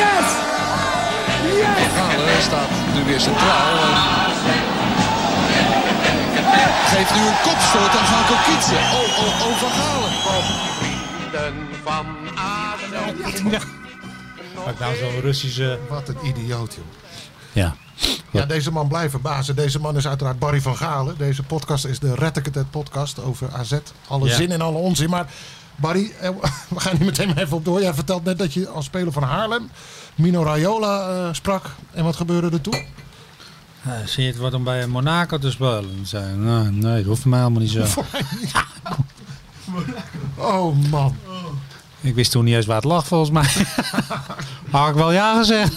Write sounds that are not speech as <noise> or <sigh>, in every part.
Yes! Yes! Galen staat nu weer centraal. Geeft nu een kopstoot aan Franco Kietsen. Oh, oh, oh, Van Galen. Maak nou zo'n Russische... Wat een idioot, joh. Ja. Ja, deze man blijft verbazen. Deze man is uiteraard Barry van Galen. Deze podcast is de Red het podcast over AZ. Alle Ja. zin en alle onzin. Maar Barry, eh, <laughs> we gaan hier meteen maar even op door. Jij vertelt net dat je als speler van Haarlem Mino Raiola eh, sprak. En wat gebeurde er toen? Ja, Eh, Zie je het wat om bij Monaco te spelen? Zei, nou, nee, dat hoeft mij helemaal niet zo. Oh man. Ik wist toen niet eens waar het lag volgens <laughs> mij. Had ik wel ja gezegd.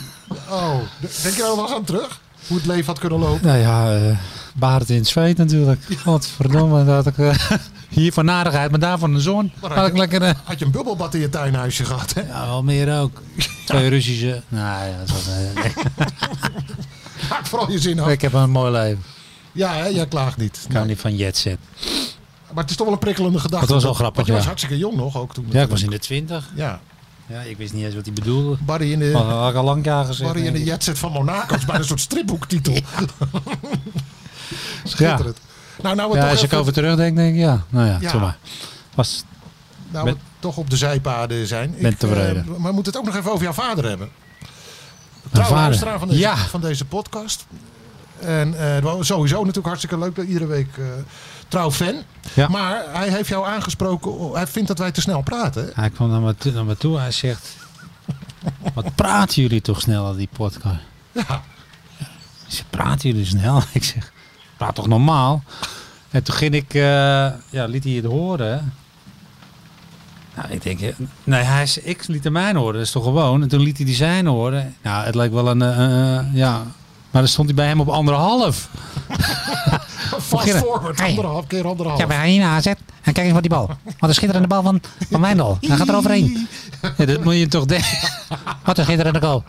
Oh. Denk je er wel eens aan terug? Hoe het leven had kunnen lopen? Nou ja, eh baard in het zweet natuurlijk. Godverdomme, dat ik eh, <laughs> hier van nadigheid, maar daar van de zon. Maar Had ik lekker... eh, Had je een bubbelbad in je tuinhuisje gehad? Hè? ja, wel meer ook. Twee Russische... Nou ja, dat was, eh, Maak vooral je zin af. ik heb een mooi leven. Ja, hè? jij klaagt niet. Ik hou niet van jet set. Maar het is toch wel een prikkelende gedachte. Dat was wel Want- grappig, want je ja. was hartstikke jong nog ook toen. Ja, ik was in natuurlijk. de twintig. Ja. Ja, ik wist niet eens wat hij bedoelde. Barry in de... Maar dat Oh, had ik al lang ja gezegd. Barry in de denk ik. jetset van Monaco. Het is bijna een soort <laughs> stripboektitel. Ja. Schitterend. Nou, nou we, Ja, toch als ik even- over terugdenk, denk ik ja. Nou ja, Ja. doe maar. Was, nou we toch op de zijpaden zijn. Ben eh, tevreden. maar we moeten het ook nog even over jouw vader hebben. vader? Trouwe luisteraar van deze, Ja. van deze podcast. En eh, wel sowieso natuurlijk hartstikke leuk dat iedere week eh, trouw fan. Ja. Maar hij heeft jou aangesproken. oh, Hij vindt dat wij te snel praten. hè? hij kwam naar me, toe, naar me toe. Hij zegt, wat praten jullie toch snel aan die podcast? Ja. Ik zeg, praten jullie snel? <laughs> Ik zeg, praat toch normaal? En toen ging ik, eh, ja, liet hij het horen. Nou, ik denk, eh, nee, hij, is- ik liet hem mijn horen, dat is toch gewoon. En toen liet hij die zijn horen. Nou, het lijkt wel een, eh, eh, ja, maar dan stond hij bij hem op anderhalf. Fast Beginnen. forward. Hey. Anderhalf keer anderhalf. Ja, maar hij in aanzet. En kijk eens wat die bal. Wat een schitterende bal van, van Wijndal. Hij gaat er overheen. Ja, dat moet je toch denken. Wat een schitterende goal.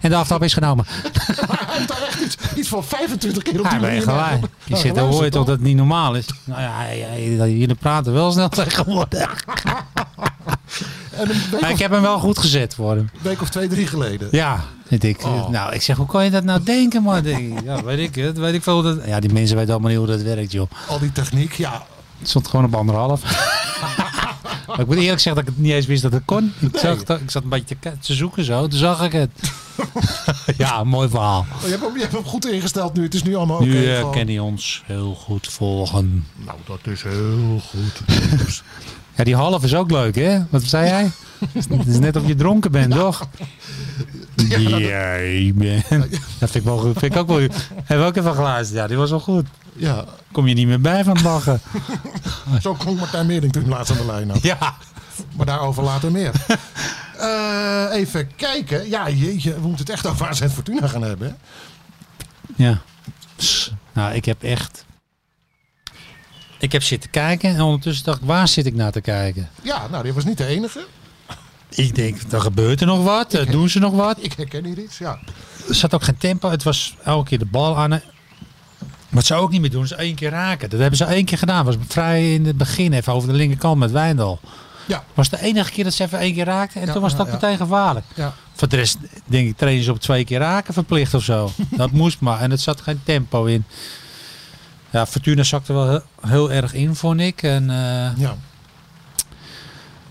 en de aftrap is genomen. <laughs> Hij heeft daar echt iets, iets van 25 keer op Hij die ben je manier naar- gelijk. Je naar zit, dan hoor je geluisterd, toch dat het niet normaal is. Nou ja, hij- hij- hij- jullie praten wel snel tegenwoordig. En een week Maar ik of- heb hem wel goed gezet voor hem. week of twee, drie geleden. Ja, vind ik. Oh. Nou, ik zeg, hoe kan je dat nou denken, man? Denk ik, Ja, weet ik het. Weet ik veel hoe dat... Ja, die mensen weten allemaal niet hoe dat werkt, joh. Al die techniek, ja. Het stond gewoon op <laughs> anderhalf. maar ik moet eerlijk zeggen dat ik het niet eens wist dat het kon. Ik, zag, dat- ik zat een beetje te, ke- te zoeken zo, toen zag ik <laughs> het. ja, mooi verhaal. Oh, je, hebt hem, je hebt hem goed ingesteld nu. Het is nu allemaal oké. nu eh, gewoon. kan hij ons heel goed volgen. Nou, dat is heel goed. Ja, die half is ook leuk, hè? Wat zei jij? Het is net of je dronken bent, toch? Jij bent. Dat vind ik, wel, goed. vind ik ook wel. Hebben we ook even geluisterd? Ja, die was wel goed. ja, Kom je niet meer bij van het lachen? zo klonk Martijn Meerdink toen laatst aan de lijn had. Ja. Maar daarover later <laughs> meer. Eh, even kijken. Ja, jeetje, we moeten het echt over AZ Fortuna gaan hebben. hè? Ja. Pss, Nou, ik heb echt. Ik heb zitten kijken en ondertussen dacht ik, waar zit ik naar te kijken? Ja, nou, dit was niet de enige. Ik denk, er gebeurt er nog wat, eh, doen ze nog wat. Ik herken hier iets, ja. Er zat ook geen tempo, het was elke keer de bal aan. Wat ze ook niet meer doen, is één keer raken. Dat hebben ze één keer gedaan. Was vrij in het begin, even over de linkerkant met Wijndal. Ja, Was de enige keer dat ze even één keer raakten en Ja, toen was ja, dat ja. meteen gevaarlijk. ja. Voor de rest, denk ik, trainen ze op twee keer raken verplicht of zo. Dat moest maar. En het zat geen tempo in. Ja, Fortuna zakte wel heel, heel erg in, vond ik. En eh ja.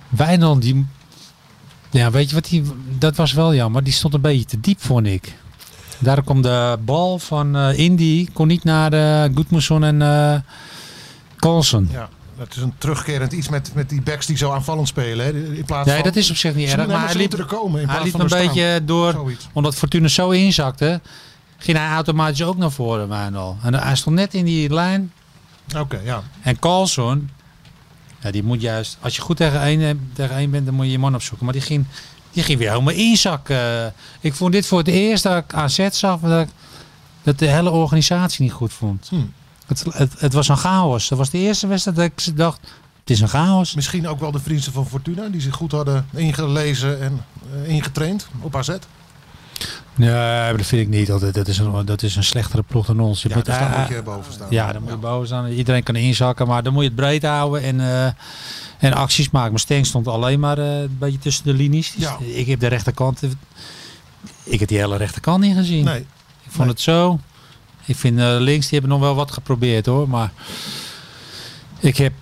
Wijnald, die... Ja, weet je wat? Die, dat was wel jammer. Die stond een beetje te diep, vond ik. Daar kwam de bal van eh Indy. Kon niet naar eh Gudmundsson en eh Carlsen. ja. Dat is een terugkerend iets met, met die backs die zo aanvallend spelen. Hè. In plaats Nee, van, dat is op zich niet erg. Ze moeten- Maar hij ze liep, moeten er komen in hij plaats liep van een er staan. beetje door... Zoiets. Omdat Fortuna zo inzakte, ging hij automatisch ook naar voren, Wijnal. En hij stond net in die lijn. Oké, ja. En eh, Carlson, ja, die moet juist, als je goed tegen één, tegen één bent, dan moet je je man opzoeken. Maar die ging Je ging weer helemaal inzakken. Eh, ik vond dit voor het eerst dat ik AZ zag dat, ik- dat de hele organisatie niet goed vond. Het, het, het was een chaos. Dat was de eerste wedstrijd dat ik dacht, het is een chaos. Misschien ook wel de vrienden van Fortuna, die zich goed hadden ingelezen en eh, ingetraind op AZ. Nee, dat vind ik niet. Dat, dat, is, een, dat is een slechtere ploeg dan ons. Je Ja, moet- dus daar eh, moet je boven staan. Ja, dan moet je boven staan. Iedereen kan inzakken, maar dan moet je het breed houden en, eh, en acties maken. Maar Steng stond alleen maar eh, een beetje tussen de linies. Dus Ja. Ik heb de rechterkant. eh, Ik heb die hele rechterkant niet gezien. Nee, ik vond het zo. Ik vind eh, links, die hebben nog wel wat geprobeerd hoor. Maar ik heb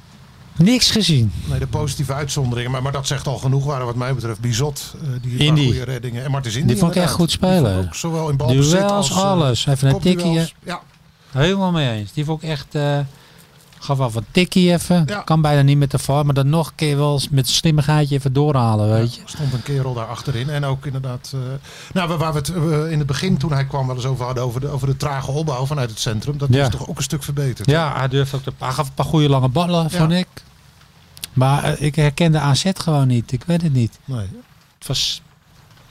niks gezien. nee, de positieve uitzonderingen. Maar, maar dat zegt al genoeg waren wat mij betreft. Bizot, eh, die een paar Indy. goede reddingen. En Martens Indy Die vond ik echt inderdaad. goed spelen. Die vond ook zowel in balbezit als... Duels, eh, alles. Even een kopduels. tikkie. eh, Ja, Helemaal mee eens. Die vond ik echt. eh, gaf af een tikkie even. Ja. Kan bijna niet met de VAR, maar dan nog een keer wel eens met een slimmigheidje even doorhalen, weet je. er stond een kerel daar achterin. En ook inderdaad... eh, nou, waar- waar we het eh, in het begin toen hij kwam wel eens over hadden... over de, over de trage opbouw vanuit het centrum. Dat Ja. is toch ook een stuk verbeterd. Ja, hij durfde ook de, hij gaf een paar goede lange ballen, Ja. vond ik. Maar eh, ik herkende AZ gewoon niet. Ik weet het niet. Nee, Het was...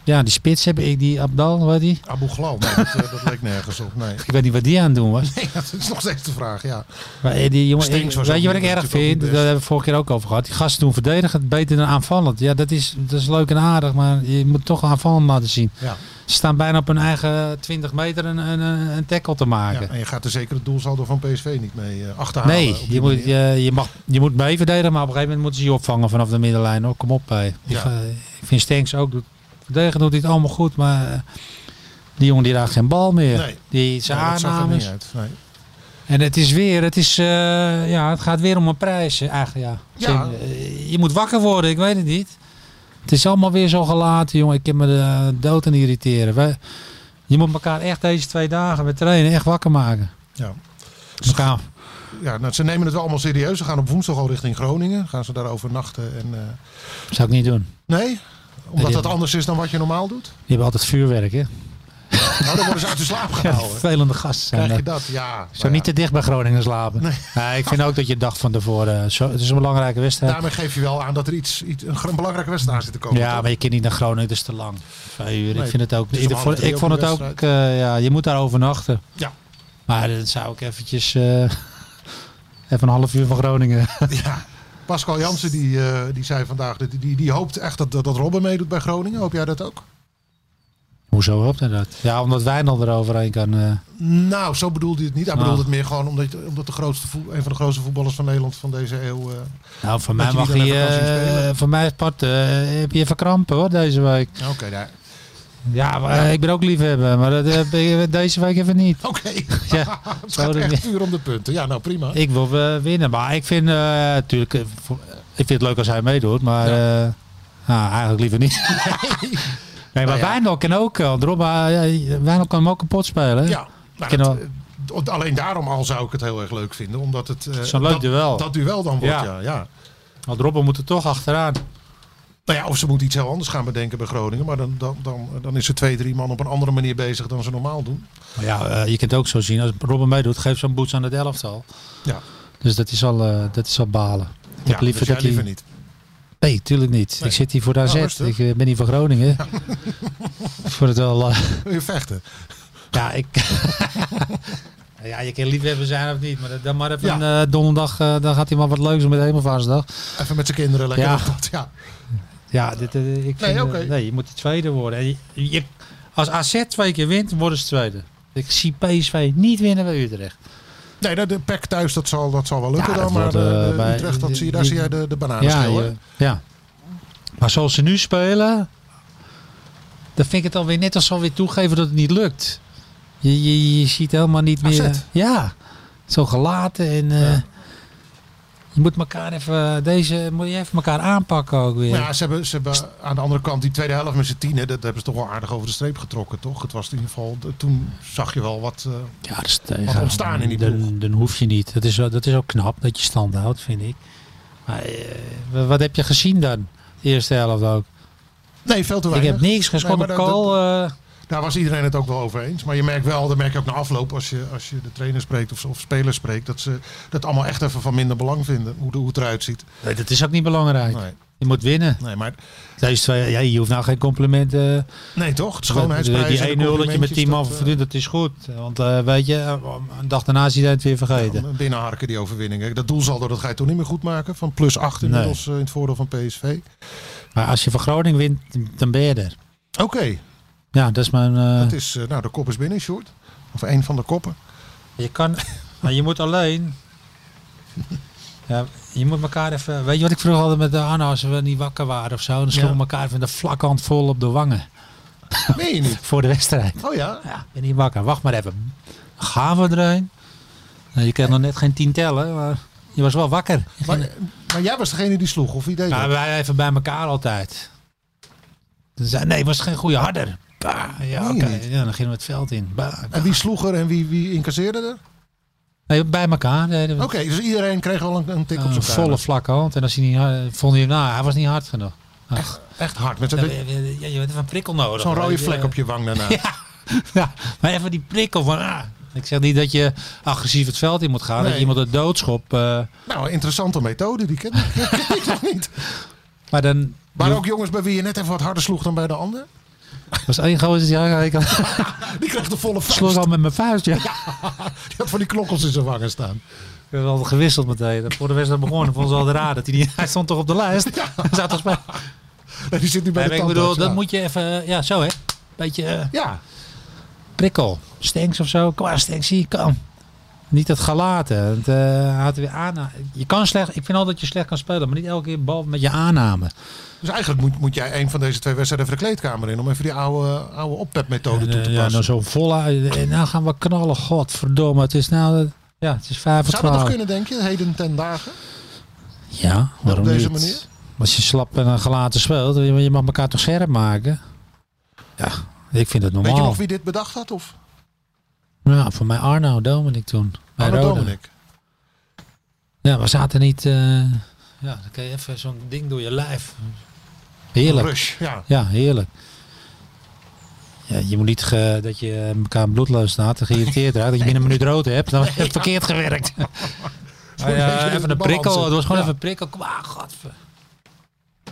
Ja, die spits heb ik, die Abdal, weet die? Abu Ghlal, nee, dat, eh, dat leek nergens op. Nee. Ik weet niet wat die aan het doen <laughs> was. Nee, dat is nog steeds de vraag, ja. Maar eh, die jongen, Stenks was weet ook je wat ik niet- erg natuurlijk vind? ook niet Daar best. hebben we vorige keer ook over gehad. Die gasten doen verdedigend beter dan aanvallend. Ja, dat is, dat is leuk en aardig, maar je moet toch aanvallend laten zien. Ja. Ze staan bijna op hun eigen 20 meter een, een, een een tackle te Ja, maken. en je gaat er zeker het doelsaldo van PSV niet mee eh, achterhalen. Nee, op die je moet, manier. je, je, mag, je moet mee verdedigen, maar op een gegeven moment moeten ze je opvangen vanaf de middenlijn. Hoor. Kom op. hé. Ik, Ja. eh, ik vind Stenks ook. Doet, verdedigen doet hij het allemaal goed, maar eh, die jongen die raakt geen bal meer. Nee. Die zijn Ja, dat zag er niet aannames. uit. Nee. En het is weer, het is, eh, ja, het gaat weer om een prijs. eh, Eigenlijk, ja. Ja. Zin, eh, je moet wakker worden, ik weet het niet. Het is allemaal weer zo gelaten, jongen. Ik kan me de dood aan irriteren. Wij- je moet elkaar echt deze twee dagen met trainen echt wakker maken. Ja. Elkaar Ja, nou, ze nemen het wel allemaal serieus. Ze gaan op woensdag al richting Groningen. Gaan ze daar overnachten. En, eh, zou ik niet doen. nee, Nee, omdat die- dat anders is dan wat je normaal doet. Die hebben altijd vuurwerk, hè? Nou, dan worden ze uit de <laughs> slaap gehouden. Vervelende gasten zijn Nou, Krijg je dat. dat? Ja. nou Zo ja. niet te dicht bij Groningen slapen. Nee. ik vind ook dat je dag van tevoren... eh, Zo, het is een belangrijke wedstrijd. Daarmee geef je wel aan dat er iets, iets een, gro- belangrijke wedstrijd aan zit te komen. ja, toch? maar je kunt niet naar Groningen, dat is te lang. Vijf uur, Nee, ik vind het ook... het is ik om half vond, drie ik ook vond het een ook... eh, ja, je moet daar overnachten. Ja. Maar dan zou ik eventjes... eh, <laughs> even een half uur van Groningen. <laughs> ja. Pascal Jansen die, eh, die zei vandaag, dat- die, die, die hoopt echt dat, dat, dat Robben meedoet bij Groningen. Hoop jij dat ook? Hoezo hoopt hij dat? Ja, omdat Wijnald er overheen kan. eh. Nou, zo bedoelde hij het niet. Hij Ah. bedoelde het meer gewoon omdat, omdat de grootste voet- een van de grootste voetballers van Nederland van deze eeuw. eh, nou, voor Dat mij je mag die dan hij... even kan zien eh, spelen. voor mij is Bart, eh, heb je even krampen hoor, deze week. Oké, daar. Ja, maar, eh, ik ben ook liefhebber, maar dat heb ik <laughs> deze week even niet. Oké. Ja, <laughs> het zo gaat dan- echt puur om de punten. Ja, nou prima. Ik wil eh, winnen, maar ik vind eh, natuurlijk, eh, voor- ik vind het leuk als hij meedoet, maar eh, nou, eigenlijk liever niet. <laughs> Nee, maar Nou ja. Wijndal kan ook, eh, want Rob, eh, Wijndal kan hem ook kapot spelen. hè? Ja. Nou, Ik eh, ken dat- wel- eh, alleen daarom al zou ik het heel erg leuk vinden. Omdat het... eh, Zo'n leuk dat, duel. Dat duel dan wordt, ja. Ja. ja, Want Robben moet er toch achteraan. Nou ja, of ze moeten iets heel anders gaan bedenken bij Groningen. Maar dan, dan, dan, dan is er twee, drie man op een andere manier bezig dan ze normaal doen. Maar ja, eh, je kunt het ook zo zien, als Robben meedoet, geeft zo'n boots aan het elftal. Ja. Dus dat is al, eh, dat is al balen. Ik Ja, heb liever dus jij dat hij... liever niet. <laughs> Nou, Nee, tuurlijk niet. Ik zit hier voor de AZ. rustig. ik eh, ben hier voor Groningen. <laughs> voor het wel... eh, Wil je vechten? Ja, ik. <laughs> ja, je kan liefhebber zijn of niet, maar dat- dan maar even Ja. een eh, donderdag, eh, dan gaat hij maar wat leuks doen met Hemelvaartsdag. Even met zijn kinderen lekker. Ja. op dat, ja. Ja, dit, eh, ik vind, eh, oké. nee, je moet de tweede worden. En je, je- als AZ twee keer wint, worden ze tweede. Ik zie PSV niet winnen bij Utrecht. Nee, nou, de pek thuis, dat zal, dat zal wel lukken Ja, dan. dat Maar wordt, de, eh, de bij- Utrecht, dat die- zie je, daar die- zie jij de, de bananen ja, schil, hè? je- ja. Maar zoals ze nu spelen, dan vind ik het alweer net als ze alweer toegeven dat het niet lukt. Je, je, je ziet helemaal niet AZ. meer. eh, Ja, zo gelaten en. eh, Je moet elkaar even, deze, moet je even elkaar aanpakken ook weer. Maar ja, ze hebben, ze hebben aan de andere kant die tweede helft met z'n tienen, dat hebben ze toch wel aardig over de streep getrokken, toch? Het was in ieder geval, de- toen zag je wel wat... eh, Ja, dat is Wat ontstaan in die ploeg. Dan, dan hoef je niet. Dat is, wel- dat is ook knap dat je stand houdt, vind ik. Maar eh, wa- wat heb je gezien dan? De eerste helft ook. Nee, veel te Ik weinig. heb niks geschoten. Nee, maar dat- Kool, eh, Daar was iedereen het ook wel over eens. Maar je merkt wel, dat merk je ook na afloop als je, als je de trainer spreekt of, of spelers spreekt, dat ze dat allemaal echt even van minder belang vinden. Hoe, de- hoe het eruit ziet. Nee, dat is ook niet belangrijk. Nee. Je moet winnen. Nee, maar Deze twee, ja, je hoeft nou geen complimenten. eh, nee toch? Het schoonheidsprijs. Die 1 0 dat je met team eh, af doet, dat is goed. Want eh, weet je, eh, een dag daarna is hij het weer vergeten. Binnenharken die overwinning. Kijk, Dat doelsaldo dat ga je toch niet meer goed maken. Van plus 8 Nee. inmiddels eh, in het voordeel van PSV. Maar als je van Groningen wint, dan ben je er. Oké, Ja, dat is mijn. eh, dat is, eh, nou de kop is binnen, Sjoerd. Of één van de <laughs> koppen. Je kan, maar je moet alleen. Ja, je moet elkaar even. Weet je wat ik vroeger hadden met de Anna als we niet wakker waren of zo? Dan sloegen we elkaar van de vlakhand vol op de wangen Meen je niet? voor de wedstrijd. Oh ja. Ja, ik ben niet wakker. Wacht maar even. Gaan we erheen? Nou, je kan nog net geen tien tellen, maar je was wel wakker. Maar, eh, maar jij was degene die sloeg, of wie deed Ja, dat? wij even bij elkaar altijd. Ze zei, nee, was geen goede harder. Bah, ja, Meen oké. je niet? Ja, dan gingen we het veld in. Bah, bah. En wie sloeg er en wie, wie incasseerde er? Nee, bij elkaar deden we Oké, dus iedereen kreeg wel een, een tik op Op zijn zijn Eh, volle vuil. vlakke hand. En als hij niet hard, vond hij, nou, hij was niet hard genoeg. Ach, Echt hard, met ja, zo'n je je hebt even een prikkel nodig. zo'n rode weet je. vlek op je wang daarna. <laughs> Ja, maar even die prikkel van, ah. Ik zeg niet dat je agressief het veld in moet gaan. Dat Nee. je iemand een doodschop. eh, Nou, een interessante methode, die ken ik <laughs> ken ik nog niet. maar dan Maar ook jongens bij wie je net even wat harder sloeg dan bij de ander. was één gozer die zei, ik <laughs> Die kreeg de volle vuist. sloeg al met mijn vuist. Ja. Die had van die knokkels in zijn wangen staan. We hebben altijd gewisseld meteen. Voor de wedstrijd begonnen vonden ze al raar dat hij niet... <laughs> Hij stond toch op de lijst? Hij Zat toch bij... Nee, <laughs> die zit nu bij Nee, de maar ik tandarts, bedoel, dat ja. moet je even... eh, Ja, zo hè. Beetje eh, Ja, prikkel. Stenks of zo. Kom maar, Stenks. Zie je, kan. Niet dat gelaten. Het, eh, hij had weer aan. Je kan slecht... Ik vind altijd dat je slecht kan spelen. Maar niet elke keer bal met je aanname. dus eigenlijk moet, moet jij een van deze twee wedstrijden even de kleedkamer in... om even die oude, oude oppepmethode En, toe eh, te ja, passen. nou zo vol... En nou gaan we knallen. Godverdomme. Het is nou... eh, Ja, het is vijf voor Zou dat nog twaalf. kunnen, denk je? Heden ten dagen? Ja, waarom deze niet? manier? Als je slap en eh, gelaten speelt, je je mag elkaar toch scherp maken? Ja, ik vind het normaal. Weet je nog wie dit bedacht had? Of Ja, voor mij Arno Dominic toen. Bij Arno Roda. Dominic? Ja, we zaten niet... eh, Ja, dan kan je even zo'n ding door je lijf. Heerlijk. Rush, ja. Ja, heerlijk. Ja, je moet niet ge- dat je elkaar bloedloos staat en geïrriteerd raakt. Dat je binnen een minuut rood hebt. <laughs> Dan heb je verkeerd gewerkt. Maar ja, beetje even de een balans prikkel. zoeken. Het was gewoon Ja. even een prikkel. Kom aan, godver.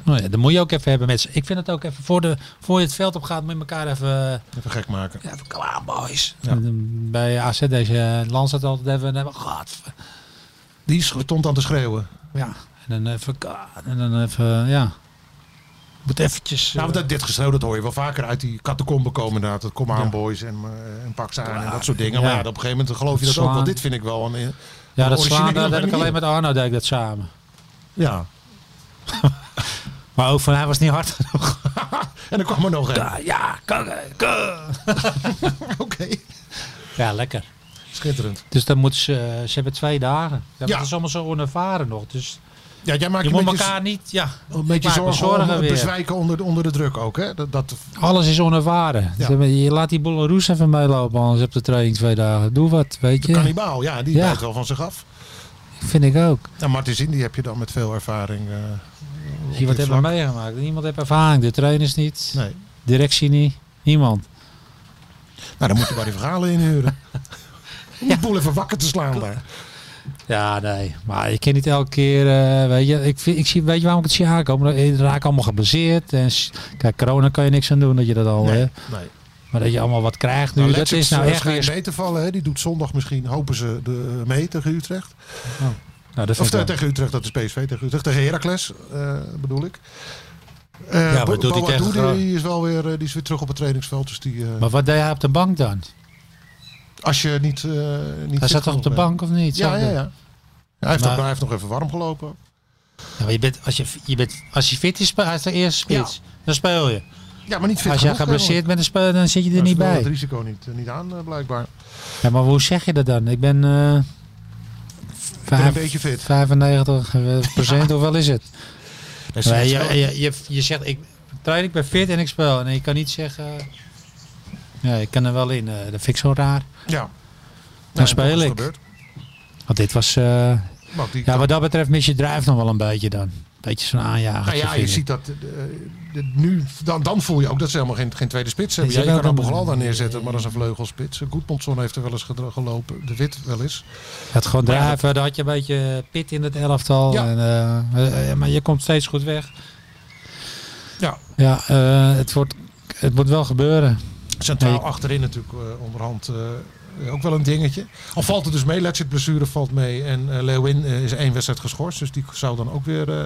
Nou ja, dat moet je ook even hebben met z'n- Ik vind het ook even, voor, de, voor je het veld op gaat, moet je elkaar even... eh, Even gek maken. even kom aan, boys. En Bij AZ deze eh, Lans had altijd even... en even godver. Die stond aan te schreeuwen. Ja. En dan even... En dan even, ja. Moet eventjes... Nou, eh, want dat, dit geschreeuw, dat hoor je wel vaker uit die catacomben komen inderdaad. Dat kom aan boys en, eh, en pak ze aan en dat soort dingen. Ja. Maar ja, op een gegeven moment geloof je dat Dat ook wel. slaan. Dit vind ik wel een... eh, ja, dat originele slaan, dat heb ik manier. alleen met Arno deed ik dat samen. Ja. Maar ook van hij was niet hard genoeg. En dan kwam er nog een. Ja, kakken, kakken. <laughs> Oké. Ja, lekker. Schitterend. Dus dan moet ze, eh, ze hebben twee dagen. Ja, Ja. Dat is allemaal zo onervaren nog. Dus Ja, jij maakt je je moet een beetje, elkaar niet. Ja, een beetje maak me zorgen, om het weer. bezwijken onder, de- onder de druk ook. Hè? Dat, dat, Alles is onervaren. Ja. Ze hebben- Je laat die bolle roes even meelopen, anders heb je de training twee dagen. Doe wat, weet de je. kannibaal, ja, die Ja. bijt wel van zich af. Vind ik ook. En Martin Zin, die heb je dan met veel ervaring. eh, op Je wat dit hebben we vlak. meegemaakt. Niemand heeft ervaring. De trainers niet. Nee. Directie niet. Niemand. Nou, dan moet je maar die verhalen inhuren. <laughs> Om die boel even wakker te slaan daar. Ja, nee. Maar je kan niet elke keer, eh, weet je, ik, vind- ik zie, weet je waarom ik het zie aankomen? Ik raak allemaal geblesseerd. En, s- kijk, corona kan je niks aan doen dat je dat al, hè. Nee, nee. Maar dat je allemaal wat krijgt nu, Nou, dat is nou echt weer... mee te vallen. Hè? Die doet zondag misschien, hopen ze, de, eh, mee tegen Utrecht. Nou, dat Of vind ik te- wel- tegen Utrecht, dat is PSV tegen Utrecht. Tegen Heracles, eh, bedoel ik. Eh, Ja, wat doet hij Boadu, tegen Groningen? die is wel weer, eh, die is weer terug op het trainingsveld. Dus die, eh, Maar wat deed hij op de bank dan? als je niet, eh, niet Hij fit zat toch op de genoeg bent. bank of niet? nou, Ja, Zat ja, er? ja. hij, heeft Maar- ook, hij heeft nog even warm gelopen. Ja, maar je bent, als, je, je bent, als je fit is, spe- hij is de eerste spits. Dan speel je. Ja, maar niet fit Als jij genoeg, eh, hè, geblesseerd want- bent, dan, speel, dan zit je er Hij niet speelde bij. het risico niet, eh, niet aan, eh, blijkbaar. Ja, maar hoe zeg je dat dan? Ik ben... eh ben vijf- een beetje fit. 95 <laughs> procent, of wel is het? Nee, ze- Nee, ze- je, je, je, je zegt, ik train, ik ben fit en ik speel. En je kan niet zeggen... Ja, ik kan er wel in. eh, dat vind ik zo raar. Ja. Dan Nee, dat speel is ik. gebeurd. Want dit was eh, Want die Ja, wat dat betreft mis je drijf nog wel een beetje dan. Beetje zo'n aanjager. Nou ja, je ziet dat eh, de- nu, dan, dan voel je ook dat ze helemaal geen, geen tweede spits hebben. Ze Ja, je kan hebben ook Abu een- daar neerzetten, maar dat is een vleugelspits. Goedmondson heeft er wel eens gedro- gelopen, de Wit wel eens. Het gewoon drijven, daar had je een beetje pit in het elftal. Ja. En, eh, eh, maar je komt steeds goed weg. Ja, Ja, eh, het, wordt, het moet wel gebeuren. centraal Nee. achterin natuurlijk eh, onderhand eh, ook wel een dingetje. Al valt het dus mee, Letchert blessure valt mee en eh, Leeuwin eh, is één wedstrijd geschorst. Dus die zou dan ook weer, eh,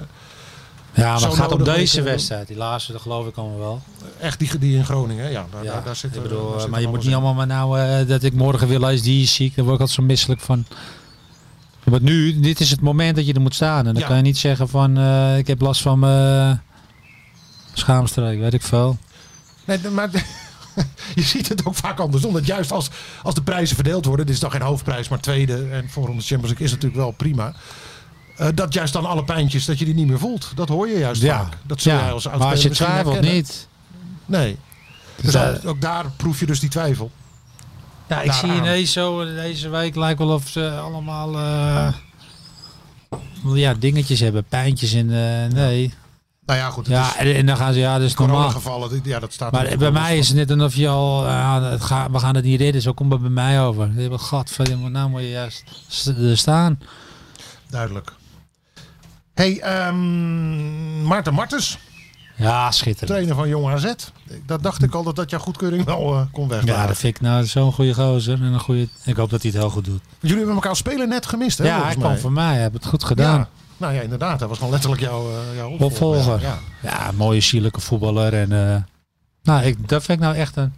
Ja, maar Zo het gaat om nodig deze ook, eh, wedstrijd. Die laatste, dat geloof ik allemaal wel. echt die, die in Groningen. hè? Ja, daar, ja, Nou, daar, daar zit ik er- bedoel, eh, daar zit maar er je moet alles niet in. allemaal maar nou eh, dat ik morgen weer lees, die is ziek. Daar word ik altijd zo misselijk van. Want nu, dit is het moment dat je er moet staan. En dan Ja. kan je niet zeggen van, eh, ik heb last van mijn schaamstreek, weet ik veel. Nee, d- maar <laughs> je ziet het ook vaak andersom. Dat juist als, als de prijzen verdeeld worden, dit is dan geen hoofdprijs, maar tweede en voorronde Champions League is natuurlijk wel prima. eh, dat juist dan alle pijntjes, dat je die niet meer voelt. Dat hoor je juist vaak. Dat zul jij als maar als je oudspeler misschien twijfelt herkennen. niet. Nee. Dus eh, ook, ook daar proef je dus die twijfel. Ja, ik Daaraan. zie ineens zo, eh, deze week lijkt wel of ze allemaal eh, ja, dingetjes hebben, pijntjes in de... Nee. Nou ja, goed. Het Ja, is en, en dan gaan ze, ja, dat is normaal. coronagevallen. dit- Ja, dat staat Maar bij natuurlijk mij is het net alsof je al, ah, het ga- we gaan het niet redden, zo komt het bij mij over. Je hebt gat, nou moet je juist s- er staan. Duidelijk. hey, ehm, Maarten Martens, Ja, schitterend. trainer van Jong AZ. Dat dacht ik al dat dat jouw goedkeuring wel eh, kon weglaten. Ja, dat vind ik nou zo'n goede gozer. En een goede, ik hoop dat hij het heel goed doet. Jullie hebben elkaar als speler net gemist, hè? ja, hij volgens mij. kwam voor mij, hij heeft het goed gedaan. Ja. Nou ja, inderdaad. Dat was gewoon letterlijk jouw, eh jouw opvolger. Opvolger. Ja. Ja, mooie sierlijke voetballer. En, eh, nou, ik, dat vind ik nou echt een...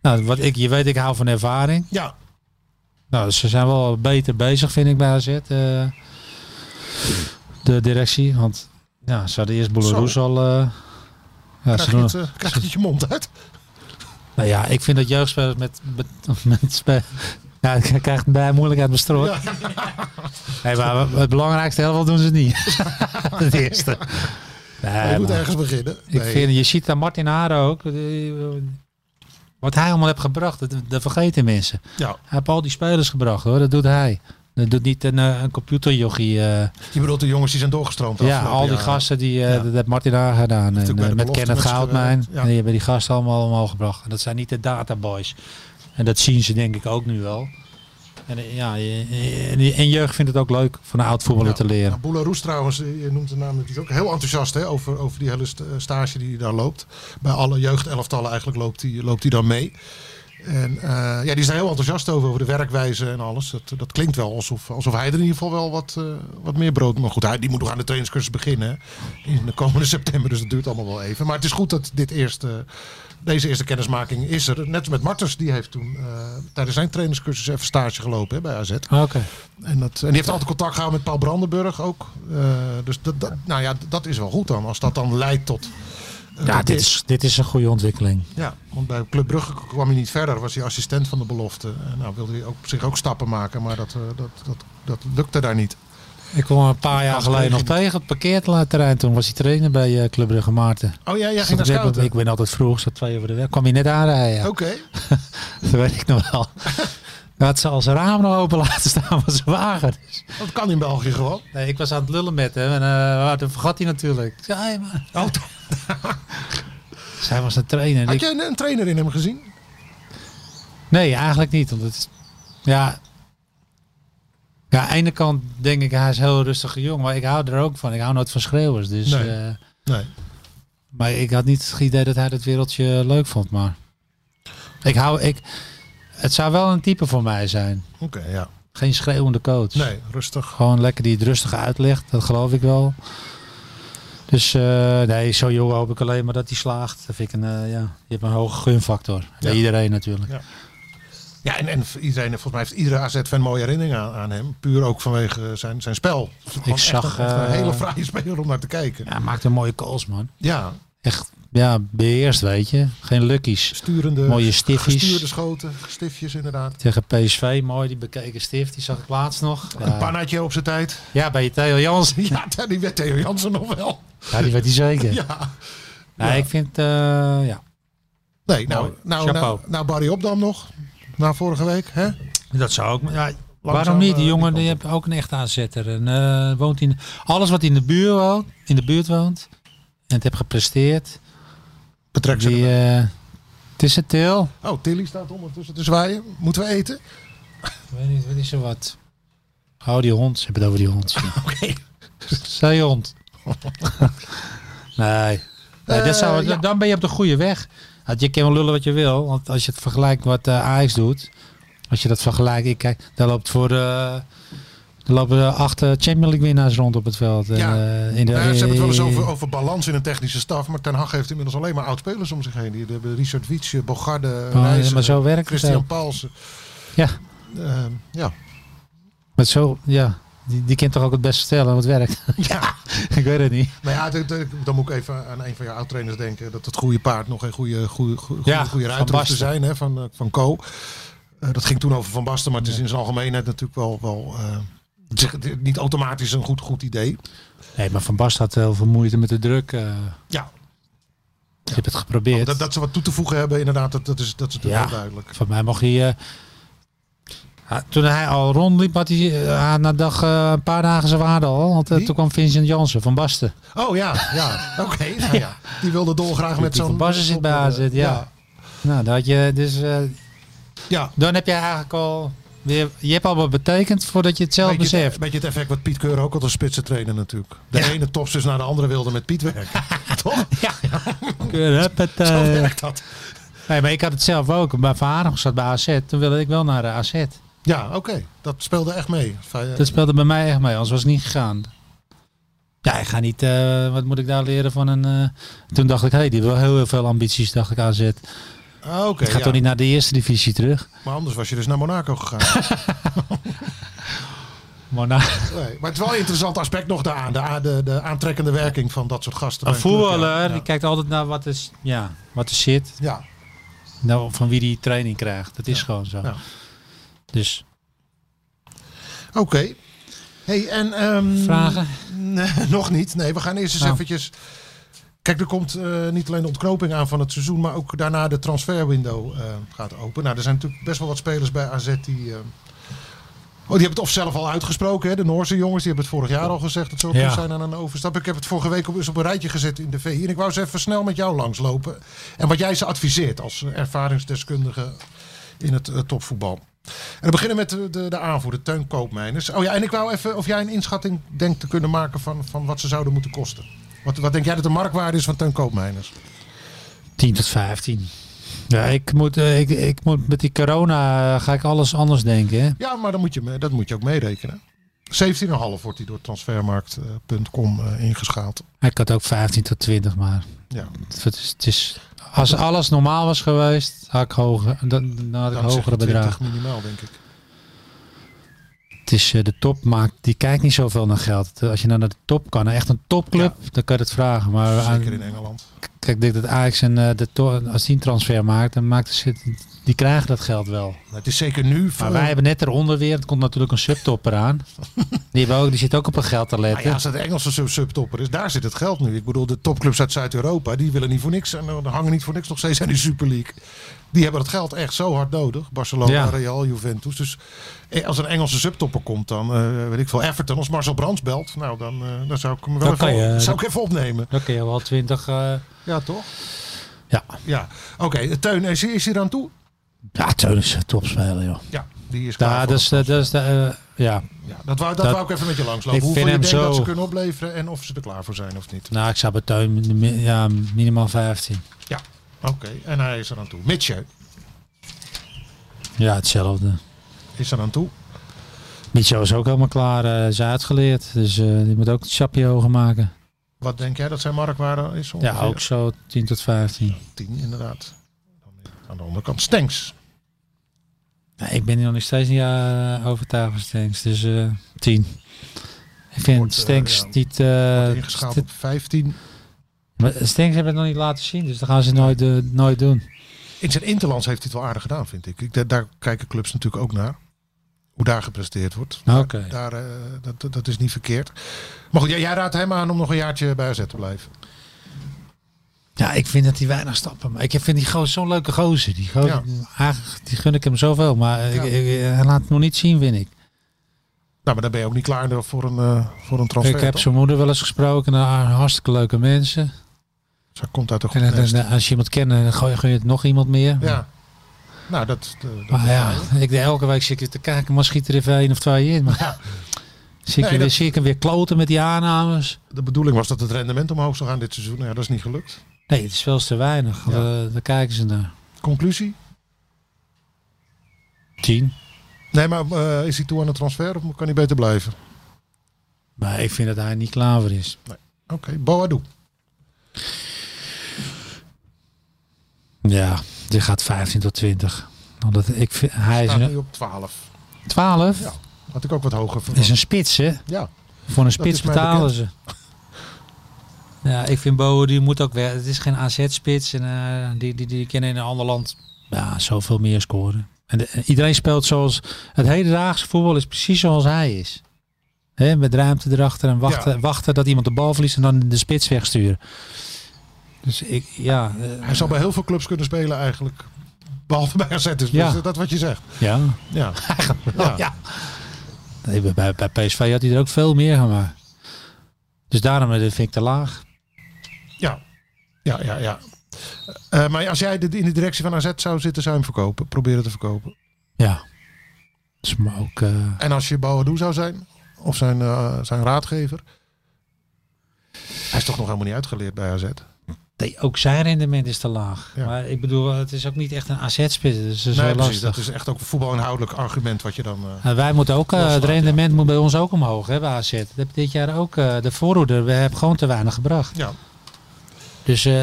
Nou, wat ik, je weet, ik hou van ervaring. ja. Nou, ze zijn wel beter bezig, vind ik, bij AZ. eh, de directie. Want ja, ze hadden eerst Boularoes al... eh, ja, Krijg, ze je doen, het, eh, krijg je het je mond uit? Nou ja, ik vind dat jeugdspelers met... <laughs> met, met spe- ja, <laughs> ik krijg het bij moeilijkheid bestrooid. Nee, maar het belangrijkste helft doen ze het niet. <laughs> <laughs> het eerste. Nee, je moet maar ergens beginnen. ik Nee. vind, je ziet daar Martin Haar ook. die- Wat hij allemaal heeft gebracht, dat, dat vergeten mensen. Ja. Hij heeft al die spelers gebracht hoor, dat doet hij. Dat doet niet een, eh, een computerjochie. eh. Je bedoelt de jongens die zijn doorgestroomd. de ja, afgelopen al die jaren. gasten die eh, Ja. dat heeft Martin Haar gedaan. En, natuurlijk bij eh, de met belofte Kenneth met z'n Goudmijn. gewerkt, ja. Die hebben die gasten allemaal omhoog gebracht. En dat zijn niet de databoys. En dat zien ze denk ik ook nu wel. En eh, ja, eh, en, en jeugd vindt het ook leuk van een oud voetballer Ja. te leren. Nou, Boula Roes trouwens, eh, je noemt de naam natuurlijk ook heel enthousiast hè, over, over die hele st- eh, stage die hij daar loopt. Bij alle jeugdelftallen eigenlijk loopt hij loopt hij dan mee. En eh, ja, die is daar heel enthousiast over, over de werkwijze en alles. Dat, dat klinkt wel alsof, alsof hij er in ieder geval wel wat, eh, wat meer brood... Maar goed, hij, die moet nog aan de trainingscursus beginnen hè, in de komende <laughs> september. Dus dat duurt allemaal wel even. Maar het is goed dat dit eerste, deze eerste kennismaking is er. Net als met Martens, die heeft toen eh, tijdens zijn trainingscursus even stage gelopen hè, bij AZ. Oké. En, dat, en die heeft altijd contact gehouden met Paul Brandenburg ook. Eh, dus dat, dat, nou ja, dat is wel goed dan. Als dat dan leidt tot... eh, Ja, dit is, dit is een goede ontwikkeling. Ja, want bij Club Brugge kwam hij niet verder. Was hij assistent van de belofte. En nou wilde hij ook, op zich ook stappen maken. Maar dat, eh, dat, dat, dat lukte daar niet. Ik kwam een paar jaar geleden nog tegen op het parkeerterrein. Toen was hij trainer bij eh, Club Brugge Maarten. Oh ja, jij Dus ging naar ik, ben- scouten. ik ben altijd vroeg, zat twee over de weg. Kwam hij net aanrijden. ja. Oké. Dat weet ik nog <laughs> wel. Hij had ze als raam nog open laten staan van zijn wagen. Dus- Dat kan in België gewoon. Nee, ik was aan het lullen met hem en eh, toen vergat hij natuurlijk. Ik zei, "Hey, man." <laughs> Zij was een trainer. en Had ik- jij een, een trainer in hem gezien? Nee, eigenlijk niet. Want het is, ja, ja, aan de ene kant denk ik, hij is een heel rustige jong. Maar ik hou er ook van. Ik hou nooit van schreeuwers. Dus, Nee. eh, Nee. Maar ik had niet het idee dat hij dat wereldje leuk vond. Maar ik hou, ik, het zou wel een type voor mij zijn. Oké, ja. Geen schreeuwende coach. Nee, rustig. Gewoon lekker die het rustig uitlegt. Dat geloof ik wel. Dus eh, nee, zo jong hoop ik alleen maar dat hij slaagt. Dat vind ik een, eh, ja, je hebt een hoge gunfactor. Bij Ja. iedereen natuurlijk. Ja, en, en iedereen, volgens mij heeft iedere AZ-fan mooie herinneringen aan, aan hem. Puur ook vanwege zijn, zijn spel. Het is gewoon echt zag, een, echt een eh, hele fraaie speler om naar te kijken. Ja, hij maakt een mooie calls, man. Ja, Echt, ja, beheerst, weet je. Geen luckies. sturende, Mooie stiffies. gestuurde schoten, stiftjes inderdaad. Tegen PSV, mooi, die bekeken stift. Die zag ik laatst nog. Een Ja, pannetje op zijn tijd. <laughs> ja bij Theo Jans. Ja, die werd Theo Jansen nog wel. Ja, die weet hij zeker. <laughs> Ja. Nee, Nou, ik vind, eh, ja. Mooi. Nee, nou, nou, nou, Chapeau. nou Barry Opdam nog. Na vorige week, hè? Dat zou ook. Ja, Waarom eh, niet? Die jongen die heeft ook een echte aanzetter. En, eh, woont in, alles wat in de, buurt woont, in de buurt woont en het heeft gepresteerd. Betrek ze Die, erbij. eh, het is het til. Oh, Tilly staat ondertussen te zwaaien. Moeten we eten? Ik weet niet, wat is er wat? Hou die hond. Ze hebben het over die hond. <laughs> Oké. Zij je hond. <laughs> nee. nee dat zou, Eh, ja. Dan ben je op de goede weg. Want je kan wel lullen wat je wil. Want als je het vergelijkt wat eh Ajax doet. Als je dat vergelijkt. Ik kijk, daar loopt voor de... Er lopen eh, acht eh, Champions League winnaars rond op het veld. Ja. En, eh, in de, Oh, Nou, ze hebben het wel eens over, over balans in een technische staf. Maar Ten Hag heeft inmiddels alleen maar oud-spelers om zich heen. Die hebben Richard Wietse, Bogarde, Oh, ja, Wijzen, maar zo werkt het Christian ook. Paulsen. Ja. Eh, ja. Maar zo, ja. Die, die kent toch ook het beste stellen wat werkt. <laughs> ja. ik weet het niet. Nou ja, dit- dit- dan moet ik even aan een van jouw oud-trainers denken. Dat het goede paard nog een goede, goede, goede, Ja, goede Van ruiter hoeft te Basten. zijn hè, van, eh, van Co. Eh, dat ging toen over Van Basten, maar het is in zijn algemeenheid natuurlijk wel... wel eh, zeg- niet automatisch een goed, goed idee. Nee, maar Van Basten had heel veel moeite met de druk. eh. Ja, ik heb het geprobeerd. Oh, dat, dat ze wat toe te voegen hebben, inderdaad, dat, dat, is, dat is natuurlijk Ja. heel duidelijk. Van mij mag hij. eh, ah, toen hij al rondliep, had hij eh, na dag, eh, een paar dagen zijn waarde al. Want eh, Wie? toen kwam Vincent Jansen van Basten. Oh ja, <laughs> ja. oké. nou ja. Die wilde dolgraag met Die zo'n... van Basten zit bij op- eh, AZ, ja. ja. Nou, dat je, dus, eh, Ja, dan heb je eigenlijk al. Weer, je hebt al wat betekend voordat je het zelf beetje, beseft. het- e- beetje het effect wat Piet Keur ook had als spitsen trainer natuurlijk. De ene topsus naar de andere wilde met <laughs> Piet werken. Toch? Zo Eh, werkt dat. Nee, maar ik had het zelf ook. Mijn vader zat bij AZ. Toen wilde ik wel naar de AZ. Ja, oké. Dat speelde echt mee. Fijn, eh, Dat speelde bij mij echt mee, anders was het niet gegaan. Ja, ik ga niet, eh, wat moet ik daar leren van een... eh, Toen dacht ik, hé, hey, die wil heel, heel veel ambities, dacht ik, AZ. ah, oké, Het gaat ja. toch niet naar de eerste divisie terug? Maar anders was je dus naar Monaco <laughs> gegaan. Maar nou, nee, maar het is wel een interessant aspect nog daaraan. De, a- de, de aantrekkende werking van dat soort gasten. een bij club, voetballer, Ja, die kijkt altijd naar wat er, s- ja, wat er zit. ja. Nou, van wie die training krijgt. Dat is gewoon zo. ja. Dus, oké. Hey, en, ehm, vragen? <laughs> Nee, nog niet. Nee, we gaan eerst eens Nou. eventjes... Kijk, er komt eh, niet alleen de ontknoping aan van het seizoen... maar ook daarna de transferwindow eh, gaat open. Nou, er zijn natuurlijk best wel wat spelers bij AZ die... eh, Oh, die hebben het of zelf al uitgesproken, hè? de Noorse jongens. Die hebben het vorig jaar al gezegd dat ze op Ja. zoek zijn aan een overstap. Ik heb het vorige week op, eens op een rijtje gezet in de VI. En ik wou ze even snel met jou langslopen. En wat jij ze adviseert als eh, ervaringsdeskundige in het eh, topvoetbal. En we beginnen met eh, de, de, de aanvoerder, Teun Koopmeiners. Oh ja, en ik wou even of jij een inschatting denkt te kunnen maken van, van wat ze zouden moeten kosten. Wat, wat denk jij dat de marktwaarde is van Teun Koopmeiners? 10 tot 15. Ja, ik moet, eh, ik, ik moet met die corona eh, ga ik alles anders denken, hè. Ja, maar dan moet je, me- dat moet je ook meerekenen. 17,5 wordt die door transfermarkt.com eh, ingeschaald. Ik had ook 15 tot 20, maar... Ja, Het is, het is- als alles normaal was geweest, had ik, hoger, dan, dan had ik dan zeg hogere je 20 bedragen. minimaal, denk ik. Het is eh, de top maakt, die kijkt niet zoveel naar geld. Als je nou naar de top kan, echt een topclub, dan kan je het vragen. Maar aan- Zeker in Engeland. kijk, ik denk dat Ajax en eh, de to- als die een transfer maakt, dan maakt ze, die krijgen dat geld wel. Nou, het is zeker nu. Maar wij hebben net eronder weer, het komt natuurlijk een subtopper aan. Die, hebben ook, die zit ook op een geld te Nou ja, letten. als dat de Engelse sub- subtopper is, daar zit het geld nu. Ik bedoel, de topclubs uit Zuid-Europa, die willen niet voor niks en eh, hangen niet voor niks nog steeds aan die Super League. Die hebben dat geld echt zo hard nodig. Barcelona, Ja. Real, Juventus. Dus eh, als een Engelse subtopper komt, dan eh, weet ik veel. Everton, als Marcel Brands belt, nou dan, eh, dan zou ik hem wel Dan kan even, je- zou ik even opnemen. Dan kun je wel 20. eh, Ja, toch? ja, Ja. Oké, eh, Teun, is, is hij aan toe? ja Teun is een topspeler, joh. Ja, die is klaar. Ja, voor dat is, het- dat is, eh, ja, ja, dat wou, dat, dat- wou ik even met je langslopen. Ik Hoeveel je vind denkt hem dat zo- ze kunnen opleveren en of ze er klaar voor zijn of niet. Nou, ik zou bij Teun mi- ja, minimaal 15. Ja, oké. En hij is er aan toe. Mitje Ja, hetzelfde. is er aan toe. Micho is ook helemaal klaar. eh is uitgeleerd. Dus eh, die moet ook het chapje hoger maken. Wat denk jij dat zijn marktwaarde is? Ongeveer? Ja, ook zo 10 tot 15. 10 inderdaad. Dan aan de onderkant Stenks. Nee, Nou, ik ben hier nog steeds niet eh, overtuigd van Stenks. Dus eh 10. Ik vind Wordt, eh, Stenks ja, niet... eh, Ingeschaald st- op 15. maar Stenks hebben het nog niet laten zien. Dus dat gaan ze nooit, eh, nooit doen. In zijn interlands heeft hij het wel aardig gedaan, vind ik. ik da- daar kijken clubs natuurlijk ook naar. Hoe daar gepresteerd wordt. Oké. Daar, eh, dat, dat- dat is niet verkeerd. Maar goed, jij, jij raadt hem aan om nog een jaartje bij AZ te blijven. Ja, ik vind dat hij weinig stappen maakt. Ik vind die gozer zo'n leuke gozer. Die, gozer Ja. eigenlijk, die gun ik hem zoveel. Maar eh, Ja. ik- ik- hij laat het nog niet zien, vind ik. Nou, maar dan ben je ook niet klaar voor een, eh, voor een transfer. Ik heb toch? zijn moeder wel eens gesproken. Nou, hartstikke leuke mensen. Ze komt uit een goed En, dan- nest. dan- als je iemand kent, dan gooi- gun je het nog iemand meer. Ja. Nou, dat... eh, dat- Maar ja, ik, elke week zit ik te kijken, maar schiet er even één of twee in. Maar Ja. zie, ik Nee, hem weer, dat- zie ik hem weer kloten met die aannames? De bedoeling was dat het rendement omhoog zou gaan dit seizoen. Nou Ja, dat is niet gelukt. Nee, het is wel eens te weinig. Ja. Daar, daar kijken ze naar. Conclusie? Tien. Nee, maar eh, is hij toe aan een transfer of kan hij beter blijven? Maar ik vind dat hij niet klaar voor is. Oké, Boadu. Ja, dit gaat 15 tot 20. Omdat ik vind, hij is Staat een, nu op 12. 12. Ja. Had ik ook wat hoger verwacht. Is een spits, hè? Ja, Voor een spits is mij betalen ze. <laughs> Ja, ik vind Boer die moet ook weg. Het is geen AZ-spits en eh, die, die, die kennen in een ander land ja, zoveel meer scoren. En de- en iedereen speelt zoals het hedendaagse voetbal is precies zoals hij is. Hè, met ruimte erachter en wachten, wachten dat iemand de bal verliest en dan de spits wegsturen. Dus ik, ja, eh, hij zou bij heel veel clubs kunnen spelen eigenlijk. Behalve bij AZ is Ja. is dat wat je zegt. ja. <laughs> Ja. ja. Nee, bij- bij, bij PSV had hij er ook veel meer gemaakt. Dus daarom eh, vind ik te laag. Ja, ja, ja. ja. Eh, maar als jij dit in de directie van AZ zou zitten, zou je hem verkopen. Proberen te verkopen. Ja. Dus maar ook. eh, En als je Boadu zou zijn, of zijn, eh, zijn raadgever. Hij is toch nog helemaal niet uitgeleerd bij AZ. Nee, ook zijn rendement is te laag. Ja. Maar ik bedoel, het is ook niet echt een AZ-spits. Dus dat is nee, wel precies. Dat lastig. is echt ook een voetbalinhoudelijk argument wat je dan... eh, En wij moeten ook, eh, het Loslaat, rendement moet bij ons ook omhoog, hè, bij AZ. Dat heb dit jaar ook, eh, de voorhoede, we hebben gewoon te weinig gebracht. ja. Dus eh,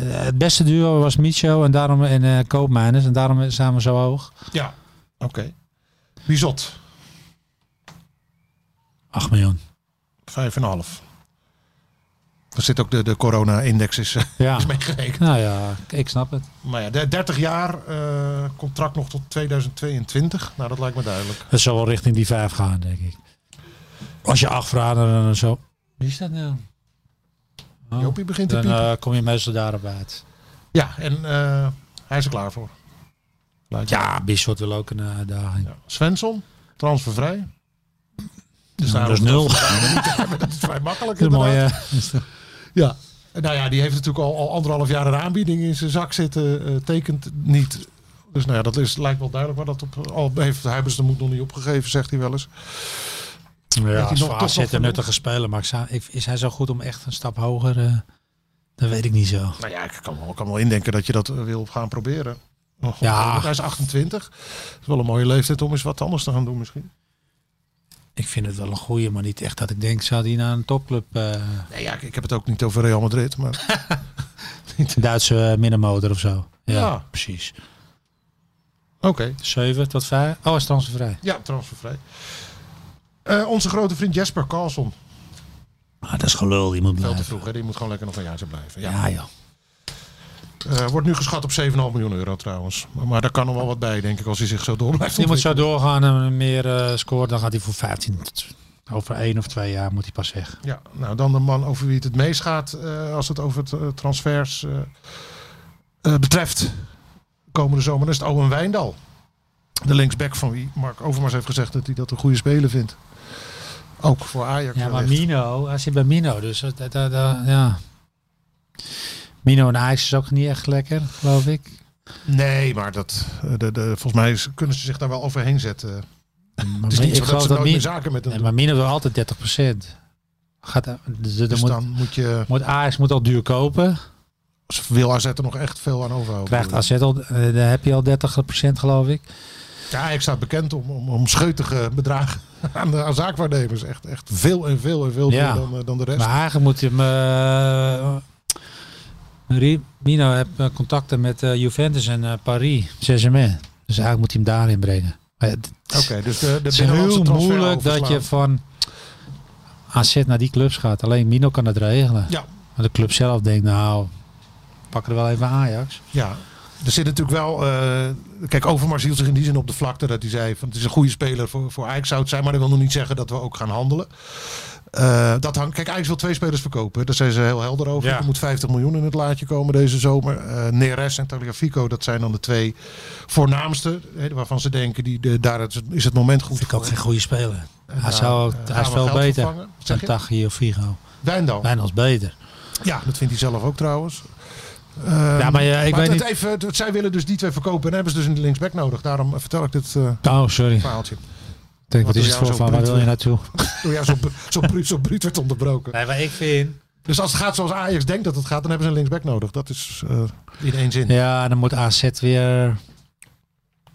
het beste duo was Micho en daarom en eh Koopmijners. En daarom zijn we zo hoog. Ja. Oké. Bizot. 8 miljoen. Vijf en een half. Er zit ook de, de corona-index is, eh, <laughs> Ja. is meegerekend. Nou ja, ik snap het. Maar ja, de- 30 jaar, eh, contract nog tot 2022. Nou, dat lijkt me duidelijk. Het zal wel richting die 5 gaan, denk ik. Als je 8 vraagt, dan zo. Wie is dat nou? Oh, Jopie begint te dan piepen. eh, kom je meestal daarop uit. Ja, en eh, hij is er klaar voor. Lijkt me. Ja, Bisschot wil ook een eh, uitdaging. Ja. Svensson, transfervrij. Nou, Dus daarom dat is nul. Dat is vrij makkelijk. Dat <laughs> is een inderdaad. mooie. Ja. En Nou ja, die heeft natuurlijk al, al anderhalf jaar een aanbieding in zijn zak zitten. eh, tekent niet. Dus nou ja, dat is, lijkt wel duidelijk waar dat op. Al heeft Huibers de moed nog niet opgegeven, zegt hij wel eens. Ja, hij als voor nog toch AZ nog een genoeg? nuttige speler, maar ik zou- ik- is hij zo goed om echt een stap hoger? eh, dat weet ik niet zo. Nou ja, ik kan wel, kan wel indenken dat je dat eh, wil gaan proberen. Oh, God, Ja. Hij is 28. Dat is wel een mooie leeftijd om eens wat anders te gaan doen misschien. Ik vind het wel een goeie, maar niet echt dat ik denk, zou die naar een topclub, eh Nee, ja, ik, ik heb het ook niet over Real Madrid. Maar <laughs> Duitse eh, middenmotor of zo. Ja, Ja. precies. oké. 7 tot 5. Oh, hij is transfervrij. Ja, transfervrij. Eh, onze grote vriend Jesper Carlson. Ah, dat is gelul, die moet Veel te blijven. vroeg, hè? die moet gewoon lekker nog een jaartje blijven. Ja. Ja, joh. Eh, wordt nu geschat op 7,5 miljoen euro trouwens. Maar, maar daar kan nog wel wat bij, denk ik, als hij zich zo door blijft Die moet ontwikkelen. zo doorgaan en meer eh scoort, dan gaat hij voor 15. tot- Over 1 of 2 jaar moet hij pas weg. Ja, nou dan de man over wie het het meest gaat eh, als het over het eh, transfers eh, eh, betreft. Komende zomer is het Owen Wijndal. De linksback van wie Mark Overmars heeft gezegd dat hij dat een goede speler vindt. Ook voor Ajax. Ja, maar wellicht. Mino, hij zit bij Mino, dus dat, dat, dat- dat- ja. Mino en Ajax is ook niet echt lekker, geloof ik. Nee, maar dat, eh, de, de, volgens mij is- kunnen ze zich daar wel overheen zetten. Maar Het is Mi- niet zo ik dat geloof ze dat nooit meer Mino, zaken met hem nee, doen. maar Mino wil altijd 30 Gaat, er- dus er Dus moet, dan moet je, moet Ajax moet al duur kopen. als wil AZ er nog echt veel aan overhouden. Krijgt AZ al, eh, daar heb je al 30 geloof ik. Ja, Ajax staat bekend om, om, om scheutige bedragen <laughs> aan, de, aan zaakwaarnemers. Echt, echt veel en veel en veel Ja. meer dan, eh, dan de rest. Maar eigenlijk moet je hem... eh, Ri- Mino heeft eh, contacten met eh, Juventus en eh, Paris, Saint-Germain. Dus eigenlijk moet hij hem daarin brengen. Maar ja, het- Oké, dus de, de Het is heel binnenlandse moeilijk dat je van AZ naar die clubs gaat. Alleen Mino kan dat regelen. Ja. Maar de club zelf denkt, nou, pak er wel even Ajax. Ja, er zit natuurlijk wel... eh, kijk, Overmars hield zich in die zin op de vlakte dat hij zei... Van, het is een goede speler voor, voor Ajax zou het zijn, maar dat wil nog niet zeggen dat we ook gaan handelen. Eh, dat hangt, kijk, Ajax wil twee spelers verkopen. Daar zijn ze heel helder over. Ja. Er moet 50 miljoen in het laadje komen deze zomer. Eh Neres en Tagliafico, dat zijn dan de twee voornaamste. Hè, waarvan ze denken, die, de, daar is het- is het moment goed Vind ik ook voor. geen goede speler. Hij, nou, zou, eh, hij is gaan we veel geld beter vervangen, zeg dan je? Tachi of Figo. Wijndal. Wijnald's beter. Ja, dat vindt hij zelf ook trouwens. Ehm, Ja, maar ja, ik weet het niet- Even, het- zij willen dus die twee verkopen en hebben ze dus een linksback nodig. Daarom eh, vertel ik dit eh, Oh, sorry. Ik verhaaltje. denk, Wat wat is doe het voor jou zo van? Waar bruut? wil je naartoe? Door jou Oh zo, bru- zo, bruut, zo bruut werd onderbroken. Nee, maar ik vind... Dus als het gaat zoals Ajax denkt dat het gaat, dan hebben ze een linksback nodig. Dat is eh, in één zin. Ja, dan moet AZ weer...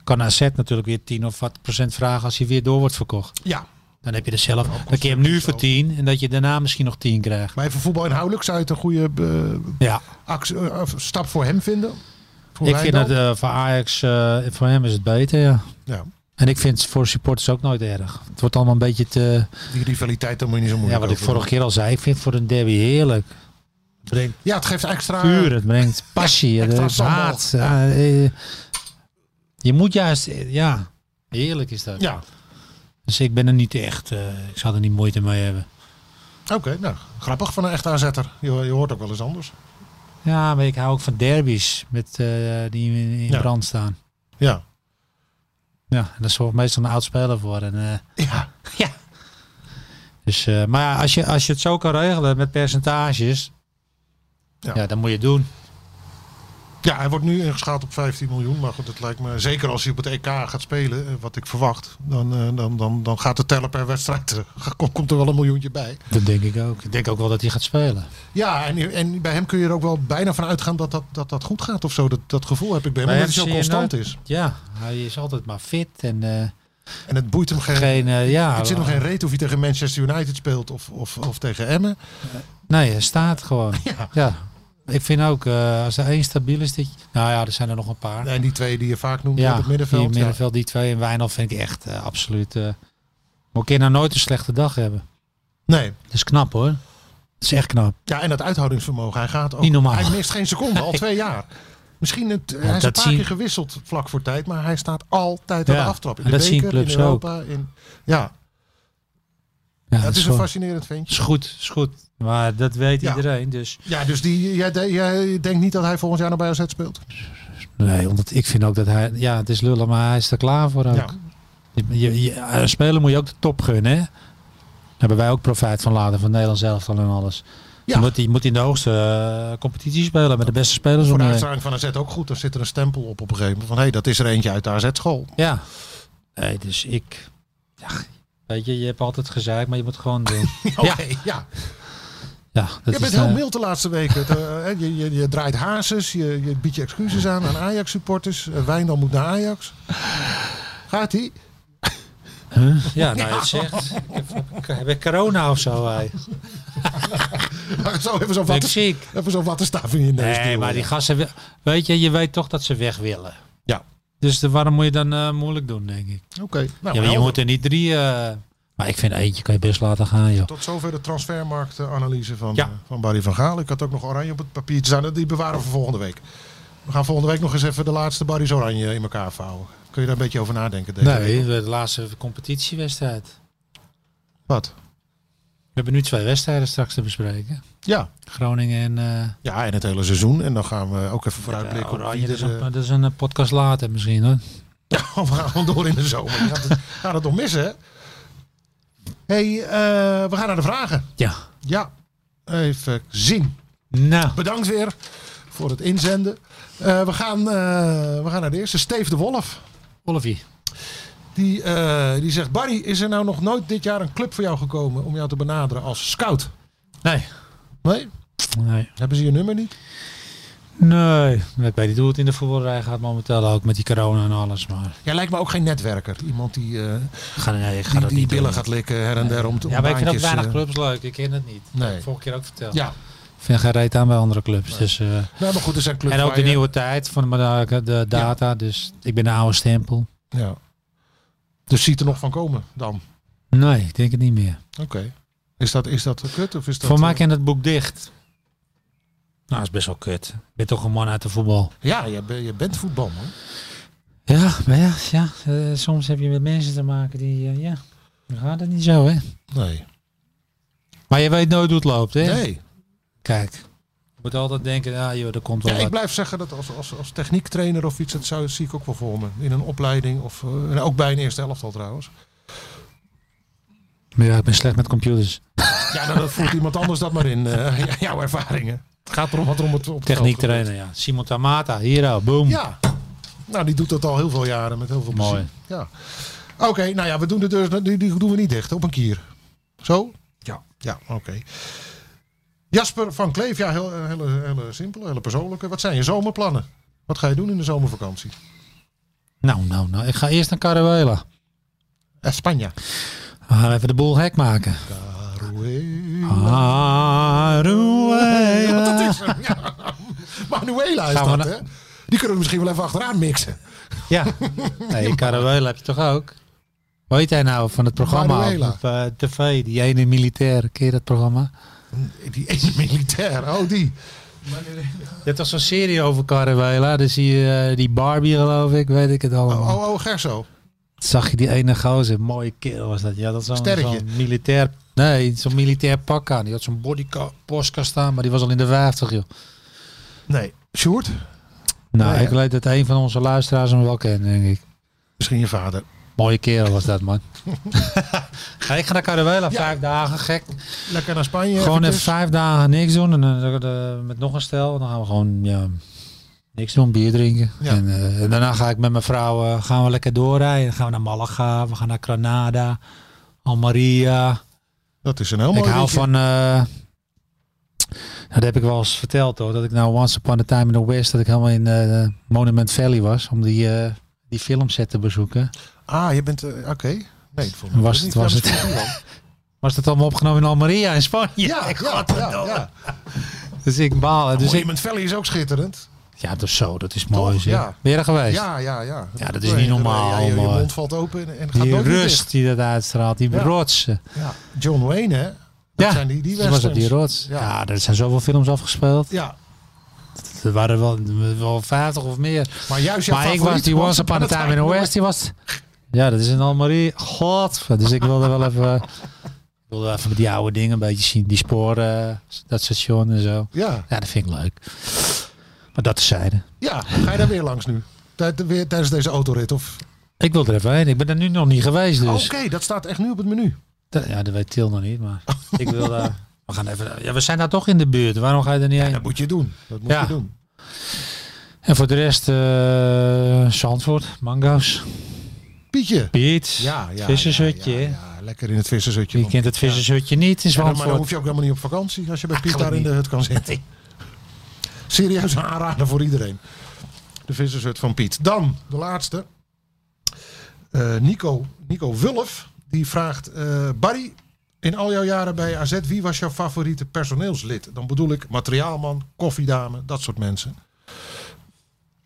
Kan AZ natuurlijk weer 10 of wat procent vragen als hij weer door wordt verkocht. Ja, Dan heb je er zelf... Dan kun je hem nu voor 10 en dat je daarna misschien nog 10 krijgt. maar even voetbal inhoudelijk zou je het een goede eh, Ja, actie- eh, of stap voor hem vinden. Voor ik vind Wijndal. dat eh, voor Ajax, eh, voor hem is het beter, ja. ja, En ik vind het voor supporters ook nooit erg. Het wordt allemaal een beetje te... die rivaliteit, daar moet je niet zo Ja, moeilijk wat ik over doen. vorige keer al zei, ik vind het voor een derby heerlijk. Het brengt Ja, Ah. het geeft extra... eh, vuur, het brengt <laughs> passie, het extra brengt sambal. haat. Ja, eh, je moet juist, eh, ja, heerlijk is dat. Ja, Dus ik ben er niet echt, eh, ik zou er niet moeite mee hebben. oké. nou, grappig van een echte aanzetter. Je, je hoort ook wel eens anders. Ja, maar ik hou ook van derbies met, eh, die in, in Ja. brand staan. Ja. Ja, en daar zorgt meestal een oud speler voor. En, eh, Ja. dus, eh, maar ja, als je, als je het zo kan regelen met percentages, Ja. ja, dan moet je het doen. Ja, hij wordt nu ingeschaald op 15 miljoen. Maar goed, het lijkt me, zeker als hij op het EK gaat spelen, eh, wat ik verwacht, dan, eh, dan, dan, dan gaat de teller per wedstrijd, eh, komt- komt er <laughs> wel een miljoentje bij. Dat denk ik ook. Ik denk ook wel dat hij gaat spelen. Ja, en, en bij hem kun je er ook wel bijna van uitgaan dat dat, dat, dat goed gaat of zo. Dat, dat gevoel heb ik bij hem, Bij omdat hem hij zo zie je constant nooit- is. Ja, hij is altijd maar fit en eh, En het boeit hem geen... geen, eh, ja, het zit nog geen reet of hij tegen Manchester United speelt of, of, of tegen Emmen. Nee, hij staat gewoon. <laughs> Ja. Ja. Ik vind ook, eh, als er één stabiel is, dit, nou ja, er zijn er nog een paar. En die twee die je vaak noemt ja, op het middenveld. Die, ja. middenveld, die twee en Wijnald vind ik echt eh, absoluut. eh maar kun je nou nooit een slechte dag hebben. Nee. Dat is knap hoor. Dat is echt knap. Ja, en dat uithoudingsvermogen. Hij gaat ook. Niet normaal. Hij mist geen seconde, <laughs> al twee jaar. Misschien het, hij is een dat paar zie- keer gewisseld vlak voor tijd, maar hij staat altijd aan Ja, de aftrap. In en de dat zien beker, in clubs Europa. In, ja, Ja, dat het is is, een gewoon- fascinerend ventje. is goed, is goed. Maar dat weet Ja. iedereen. Dus Ja, dus die, jij, de- jij denkt niet dat hij volgend jaar nog bij AZ speelt? nee, omdat ik vind ook dat hij, ja, het is lullen, maar hij is er klaar voor ook. Ja. Je, je, je- een speler moet je ook de top gunnen. Hè? Daar hebben wij ook profijt van laten, van Nederland zelf en alles. Dus Ja. Je, moet, je moet in de hoogste eh, competitie spelen met de beste spelers Voor om eh, de je heen. uitstraling van AZ ook goed. Dan zit er een stempel op op een gegeven moment. Van, hé, hey, dat is er eentje uit de AZ-school. Ja. Nee, dus ik. Ja, weet je, je hebt altijd gezegd, maar je moet het gewoon <laughs> doen. Oké, ja. ja, dat Je is bent heel eh, mild de laatste weken. Het, eh, hè, je, je, je draait hazes, je, je biedt je excuses aan aan Ajax-supporters. Eh, Wijndal moet naar Ajax. Gaat hij? Ja, nou, je het zegt. Ik heb, ik heb corona of zo. Hij. <laughs> Zo even zo'n Ben ik watten, ziek? even zo'n wattenstaaf in je neus. Nee, duwen, maar die ja. gasten. wil- Weet je, je weet toch dat ze weg willen. Ja. Dus de, waarom moet je dan eh, moeilijk doen, denk ik? Oké. Nou, ja, maar je helder. moet er niet drie. eh, maar ik vind eentje kan je best laten gaan, joh. Tot zover de transfermarktanalyse van, Ja. eh, van Barry van Gaal. Ik had ook nog oranje op het papiertje staan. Die bewaren we voor volgende week. We gaan volgende week nog eens even de laatste Barry's oranje in elkaar vouwen. Kun je daar een beetje over nadenken? Deze week? Nee, de laatste competitiewedstrijd. Wat? We hebben nu twee wedstrijden straks te bespreken. Ja. Groningen en... eh, ja, en het hele seizoen. En dan gaan we ook even vooruitblikken. op Oranje, wie dat is, er, een, dat is een eh, podcast later misschien hoor. eh, we gaan gewoon door in de zomer. Je <laughs> gaat het, gaat het nog missen, hè? hey, eh, we gaan naar de vragen. Ja. Ja, even zien. Nou, Bedankt weer voor het inzenden. Eh, we, gaan, eh, we gaan naar de eerste. Steve de Wolf. Olivie. Die, eh, die zegt: Barry, is er nou nog nooit dit jaar een club voor jou gekomen om jou te benaderen als scout? Nee. Nee? Nee. Hebben ze je nummer niet? Nee. Ik weet niet hoe het in de voetbalrij gaat momenteel ook met die corona en alles. Maar Jij lijkt me ook geen netwerker. Iemand die, eh, ik ga, nee, ik ga die, dat die niet billen doen. gaat likken her en der om te Ja, maar ik vind ook baantjes, weinig eh, clubs leuk. Ik ken het niet. Nee. Dat heb ik vorige keer ook verteld. Ja, Ik vind geen reet aan bij andere clubs. Dus, eh, nou, maar goed, er zijn clubs. en ook waar de je- nieuwe tijd van de, de data. Dus ik ben de oude stempel. Ja. Dus ziet er nog van komen dan. Nee, ik denk het niet meer. Oké. Is dat, is dat kut of is dat... Voor mij eh, kent het boek dicht. Nou, is best wel kut. Ik ben toch een man uit de voetbal. Ja, je, ben- je bent voetbalman. Ja, maar ja, ja eh, soms heb je met mensen te maken die, eh, ja, dan gaat het niet zo, hè. Nee. Maar je weet nooit hoe het loopt, hè? Nee. Kijk, je moet altijd denken, ah joh, er komt wel Ja, ik wat. blijf zeggen dat als, als, als techniektrainer of iets, dat zou, zie ik ook wel voor me. In een opleiding of eh, en ook bij een eerste elftal trouwens. Maar ja, ik ben slecht met computers. Ja, nou, dat voert iemand anders dat maar in, eh, <laughs> ja, jouw ervaringen. Het gaat erom wat er om het op het Techniek veld gebeurt. trainen, ja. Simon Tamata, hero, boom. Ja, nou die doet dat al heel veel jaren met heel veel Mooi. plezier. Ja. Oké, nou ja, we doen de deur, die, die doen we niet dicht op een kier. Zo? Ja. Ja, oké. Jasper van Kleef, ja, heel, eh, hele, hele simpele, hele persoonlijke. Wat zijn je zomerplannen? Wat ga je doen in de zomervakantie? Nou, nou, nou. Ik ga eerst naar Caruela. Eh, Spanje. We gaan even de boel hek maken. Ja, Caruela. dat is hem. <laughs> Ja. Manuela is Ah. Gaan we dat, na- hè? Die kunnen we misschien wel even achteraan mixen. Ja. Nee, Caruela heb je toch ook? Hoe heet hij nou van het programma op, Manuela. op eh, tv? Die ene militair, ken je dat programma? Die ene militair, oh die. Je hebt toch zo'n serie over Caruela? Dan zie je eh, die Barbie geloof ik, weet ik het allemaal. Oh, oh, oh Gerso. Zag je die ene gozer, mooie kerel was dat. Ja, dat is zo'n Sterretje. zo'n militair, nee, zo'n militair pak aan. Die had zo'n bodypostka staan, maar die was al in de 50 joh. Nee. Sjoerd? Nou, Oh, Ja, ja. ik weet dat een van onze luisteraars hem wel kent, denk ik. Misschien je vader. Mooie kerel was dat, <laughs> man. Ja, ik ga naar Caruela, vijf dagen, gek. Lekker naar Spanje. Gewoon even eventjes. vijf dagen niks doen. En dan, eh, met nog een stel. Dan gaan we gewoon ja, niks doen. Bier drinken. Ja. En eh, daarna ga ik met mijn vrouw eh, gaan we lekker doorrijden. Dan gaan we naar Malaga. We gaan naar Granada. Almeria. Dat is een heel ik mooi hou liedje. van... eh, dat heb ik wel eens verteld hoor. Dat ik nou Once Upon a Time in the West. Dat ik helemaal in eh, Monument Valley was. Om die, eh die filmset te bezoeken. Ah, je bent... eh, Oké. Nee, ik vond Was het- was het- <laughs> Was dat allemaal opgenomen in Almeria in Spanje? Ja, ja, ja, ja, ja. Dus ik baal. Dus ik, Monument Valley is ook schitterend. ja, dus zo. Dat is mooi. Toch? zeg. Ja. Ben je er geweest? Ja, ja, ja. Ja, dat is niet normaal, Ja, je, je maar- mond valt open en, en gaat Die nooit meer rust die dat uitstraalt, die Ja. rotsen. dicht. Ja. John Wayne, hè? Dat zijn die, die dat was het, die westerns. rots. Ja. Ja. er zijn zoveel films afgespeeld. Ja, Er waren wel, wel 50 of meer. maar juist jouw maar ik was favoriet die Once Upon a Time in the West, die was... Ja, dat is in Almerie. God, dus ik wilde wel even... Ik wilde even die oude dingen een beetje zien. Die sporen, dat station en zo. Ja, Ja, dat vind ik leuk. Maar dat tezijde. ja. Ga je daar weer langs nu? Tijd- weer tijdens deze autorit of... Ik wil er even heen. Ik ben er nu nog niet geweest, Oké, dus... dat staat echt nu op het menu. Dat- ja, dat weet Til nog niet, maar ik wil daar... We gaan even... Ja, we zijn daar toch in de buurt. Waarom ga je er niet heen? Dat moet je doen. Dat moet Ja. je doen. En voor de rest, eh Zandvoort, mango's, Pietje. Piet, Ja, ja. vissershutje. Ja, hè? ja, lekker in het vissershutje. Je kent het vissershutje niet in Ja, dan- maar dan Zandvoort. hoef je ook helemaal niet op vakantie als je bij Piet Eigenlijk daar in de hut kan zitten. Serieus een aanrader voor iedereen. De vissershut van Piet. Dan de laatste. Eh, Nico, Nico Wulf. Die vraagt, eh, Barry, in al jouw jaren bij AZ, wie was jouw favoriete personeelslid? Dan bedoel ik materiaalman, koffiedame, dat soort mensen.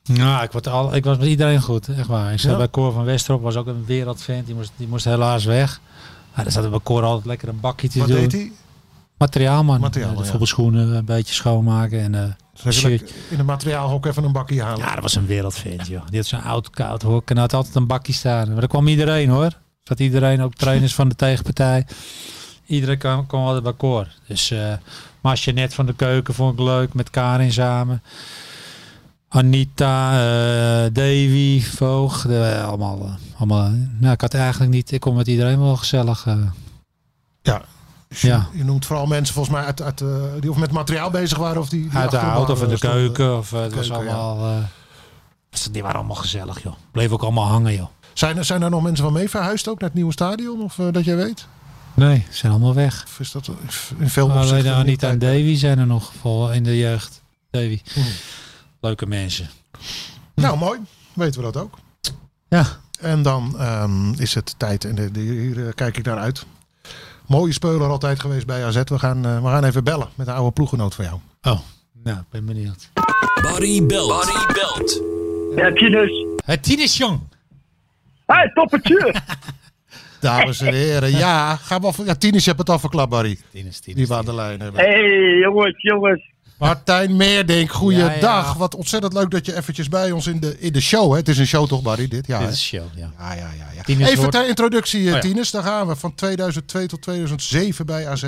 Nou, ik, word al, ik was met iedereen goed, echt waar. Ik zat Ja. bij Cor van Westerop, was ook een wereldvent. Die moest, die moest helaas weg. Maar dan zaten we bij Cor altijd lekker een bakje te Wat doen. deed hij? Materiaal, man. Materiaal, Eh, de ja. voetbalschoenen een beetje schoonmaken. En, eh, Zeg je Shit. lekker In een materiaalhok even een bakje halen. ja, dat was een wereldvent, joh. Die had zo'n oud, koud hok en had altijd een bakje staan. Maar daar kwam iedereen, hoor. Zat iedereen, ook trainers van de tegenpartij. Iedereen kwam, kwam altijd bij koor. Dus eh Masje net van de keuken vond ik leuk, met Karin samen. Anita, eh, Davy, Voog, de- allemaal, eh, allemaal. Nou, ik had eigenlijk niet, ik kon met iedereen wel gezellig. eh. Ja. Dus je- Ja. Je noemt vooral mensen volgens mij uit, uit, eh, die of met materiaal bezig waren of die, die uit de achter een auto bar, of in eh, de stonden. keuken. Of, eh, het was Keuken, ja. allemaal, eh, ze- die waren allemaal gezellig, joh. Bleef ook allemaal hangen, joh. Zijn er, zijn er nog mensen van mee verhuisd ook naar het nieuwe stadion? Of eh, dat jij weet? Nee, ze zijn allemaal weg. Of is dat in veel Alleen opzichten... de Anita en niet- Davy zijn er nog voor in de jeugd. Davy. Hmm. Leuke mensen. Nou, mooi. Weten we dat ook. Ja. En dan ehm, is het tijd. En de- de- hier eh, kijk ik naar uit. Mooie speler altijd geweest bij AZ. We gaan, eh, we gaan even bellen met een oude ploeggenoot van jou. Oh, nou, ik ben benieuwd. Barry belt. Barry belt. Heb je dus. Het Tinus Jong. Hé, hey, toppertje! Dames en heren. Ja, ga maar. voor- Ja, Tinus, je hebt het al verklapt, Barry. Tinus, Tinus. Die we aan de lijn hebben. Hé, hey, jongens, jongens. Martijn Meerdink, goeiedag. Ja, ja. Wat ontzettend leuk dat je eventjes bij ons in de, in de show... Hè? Het is een show toch, Barry? Dit, ja, Dit hè? is show, ja. Ja, ja, ja. ja. Tinus Even wordt- ter introductie, eh, ja. Tinus. Daar gaan we. Van 2002 tot 2007 bij AZ.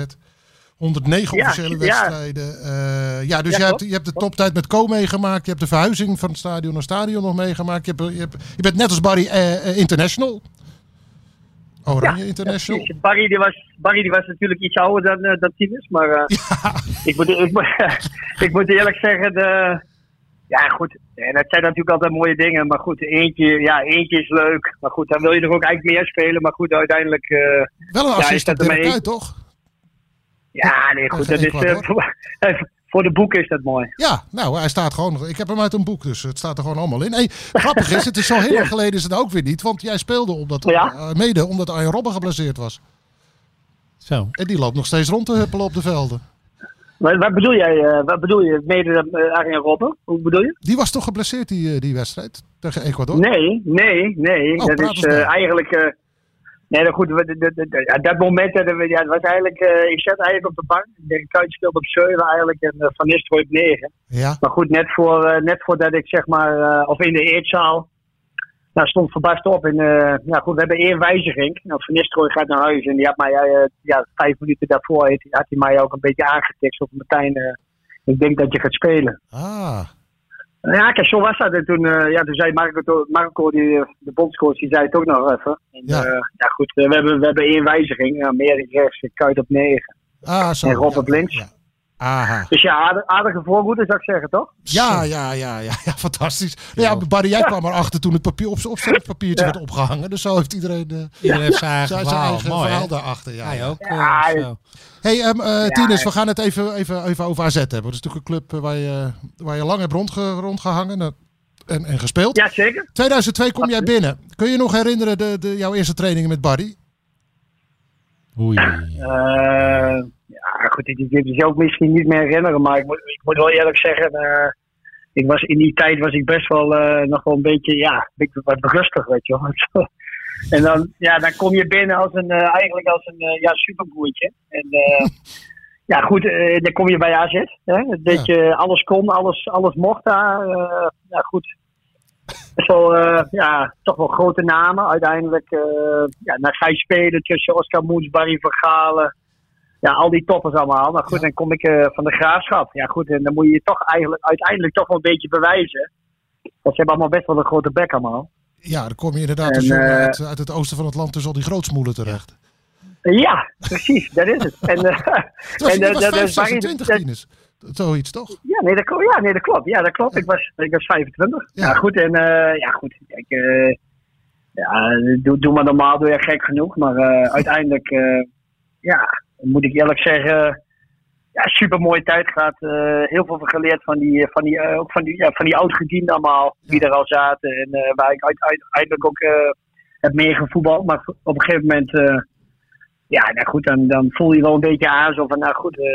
109 Ja, officiële ja. wedstrijden. Eh, ja, dus Ja, je, hebt, klopt. je hebt de toptijd met Co meegemaakt. Je hebt de verhuizing van stadion naar stadion nog meegemaakt. Je, hebt, je, hebt, je bent net als Barry eh, eh, International. Oranje International. precies. Barry, die was, Barry die was natuurlijk iets ouder dan, eh, dan Tinus, maar eh, ik, moet, ik, moet- <laughs> ik moet eerlijk zeggen, de, ja goed, en het zijn natuurlijk altijd mooie dingen, maar goed, eentje, ja, eentje is leuk, maar goed, dan wil je er ook eigenlijk meer spelen, maar goed, uiteindelijk, eh, Wel een Ja, is assist op dat Dirk er maar Kuyt, toch? ja, nee, goed, geen dat is, kwaad, eh, hoor. voor, eh, <laughs> voor de boeken is dat mooi. Ja, nou, hij staat gewoon. Ik heb hem uit een boek, dus het staat er gewoon allemaal in. Hey, grappig is, het is zo <laughs> heel lang geleden is het ook weer niet. Want jij speelde omdat, Ja. eh, mede omdat Arjen Robben geblesseerd was. Zo. En die loopt nog steeds rond te huppelen op de velden. Wat, wat bedoel jij, eh, wat bedoel je, mede eh, Arjen Robben, hoe bedoel je? Die was toch geblesseerd, die, eh, die wedstrijd tegen Ecuador? Nee, nee, nee. Oh, dat praat is eens eh, na. eigenlijk. eh, nee, nou goed, we- de- de- de- ja, dat moment. eh, dat we- ja, het was eigenlijk, eh, ik zat eigenlijk op de bank. De kuit speelde op 7 eigenlijk en eh, Van Nistelrooy op 9. Ja, Maar goed, net, voor, eh, net voordat ik zeg maar. eh, of in de eetzaal. Nou, stond verbast op. En eh, nou goed, we hebben één wijziging. Nou, Van Nistelrooy gaat naar huis. En die had mij. eh, ja, vijf minuten daarvoor heeft- had hij mij ook een beetje aangetikt. Of Martijn, eh, ik denk dat je gaat spelen. ah, Ja, kijk, zo was dat. En toen, eh, ja, toen zei Marco, Marco die, eh, de bondscoach, die zei het ook nog even. En, Ja. ja. ja, goed, eh, we, hebben, we hebben één wijziging. Ja, meer is rechts, Kuit op negen. ah, zo. En Rob ja. op links. Ja. Aha. Dus ja, aardig- aardige voorgoeden zou ik zeggen, toch? Ja, ja, ja, ja, ja, fantastisch. Nou ja, Barry, jij kwam erachter toen het papier op zijn opstellingspapiertje werd opgehangen. Dus zo heeft iedereen eh, Iedereen heeft zijn eigen zijn, zijn verhaal. eigen Mooi, hè? verhaal daarachter. Ja, Hij ja. ook. eh, Ja, zo. Hey, ehm eh, Tinus, we gaan het even, even, even over AZ hebben. Dat is natuurlijk een club eh, waar, je, waar je lang hebt rondge, rondgehangen eh, en, en gespeeld. Ja, zeker. 2002 kom jij binnen. Kun je je nog herinneren de, de, jouw eerste trainingen met Barry? Oei. Eh, ja, goed, ik ik- ik zou het misschien niet meer herinneren, maar ik moet, ik moet wel eerlijk zeggen, eh, ik was, in die tijd was ik best wel eh, nog wel een beetje, ja, een beetje wat rustig, weet je wel. <laughs> en dan, ja, dan kom je binnen als een, eh, eigenlijk als een eh, ja, superbroertje. En eh, ja, goed, eh, dan kom je bij AZ. Hè? Een beetje alles kon, alles, alles mocht daar. eh, ja, goed. Best wel, eh, ja, toch wel grote namen. Uiteindelijk eh, ja, dan ga je spelen tussen Oscar Moens, Barry Vergalen. Ja, al die toppers allemaal. Maar goed, dan kom ik eh, van de graafschap. Ja, goed, en dan moet je je toch eigenlijk uiteindelijk toch wel een beetje bewijzen. Want ze hebben allemaal best wel een grote bek allemaal. Ja, dan kom je inderdaad En, als jongen eh, uit, uit het oosten van het land tussen al die grootsmoelen terecht. Ja, precies, dat is het. En, eh, <laughs> Het was, en, je eh, was 5, dat- dat- Barry- 26, dat- Tinus. Zoiets toch? Ja, nee, dat klopt. Ja, nee, dat klopt. Ja, dat klopt. Ik, was, ik was 25. Ja. Ja, goed. En eh, ja, goed. Kijk, eh, ja, doe, doe maar normaal, doe je gek genoeg. Maar eh, uiteindelijk, eh, ja, moet ik eerlijk zeggen, ja, super mooie tijd gehad. eh, heel veel geleerd van die, van die, eh, ook van die, ja, van die oud-gedienden allemaal, die er al zaten. En eh, waar ik uit- uit- uiteindelijk ook eh, heb meegevoetbald. Maar op een gegeven moment, eh, ja, nou goed, dan, dan voel je wel een beetje aan zo van, nou goed, eh,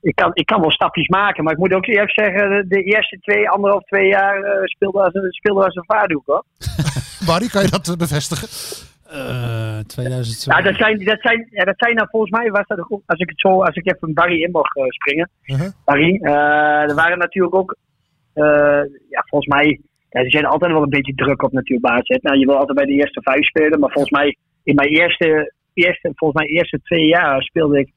ik kan, ik kan wel stapjes maken, maar ik moet ook eerlijk zeggen, de- de eerste twee, anderhalf, twee jaar eh, speelde, als een, speelde als een vaardoek hoor. Barry, kan je dat eh, bevestigen? Eh, 2002. Ja, dat zijn, dat zijn, ja, dat zijn nou volgens mij, was dat ook, als ik het zo, als ik even Barry in mag eh, springen. Uh-huh. Barry, eh, er waren natuurlijk ook, eh, ja, volgens mij, ja, er zijn altijd wel een beetje druk op natuurlijk bij AZ. Nou, je wil altijd bij de eerste vijf spelen, maar volgens mij, in mijn eerste, eerste, volgens mij eerste twee jaar speelde ik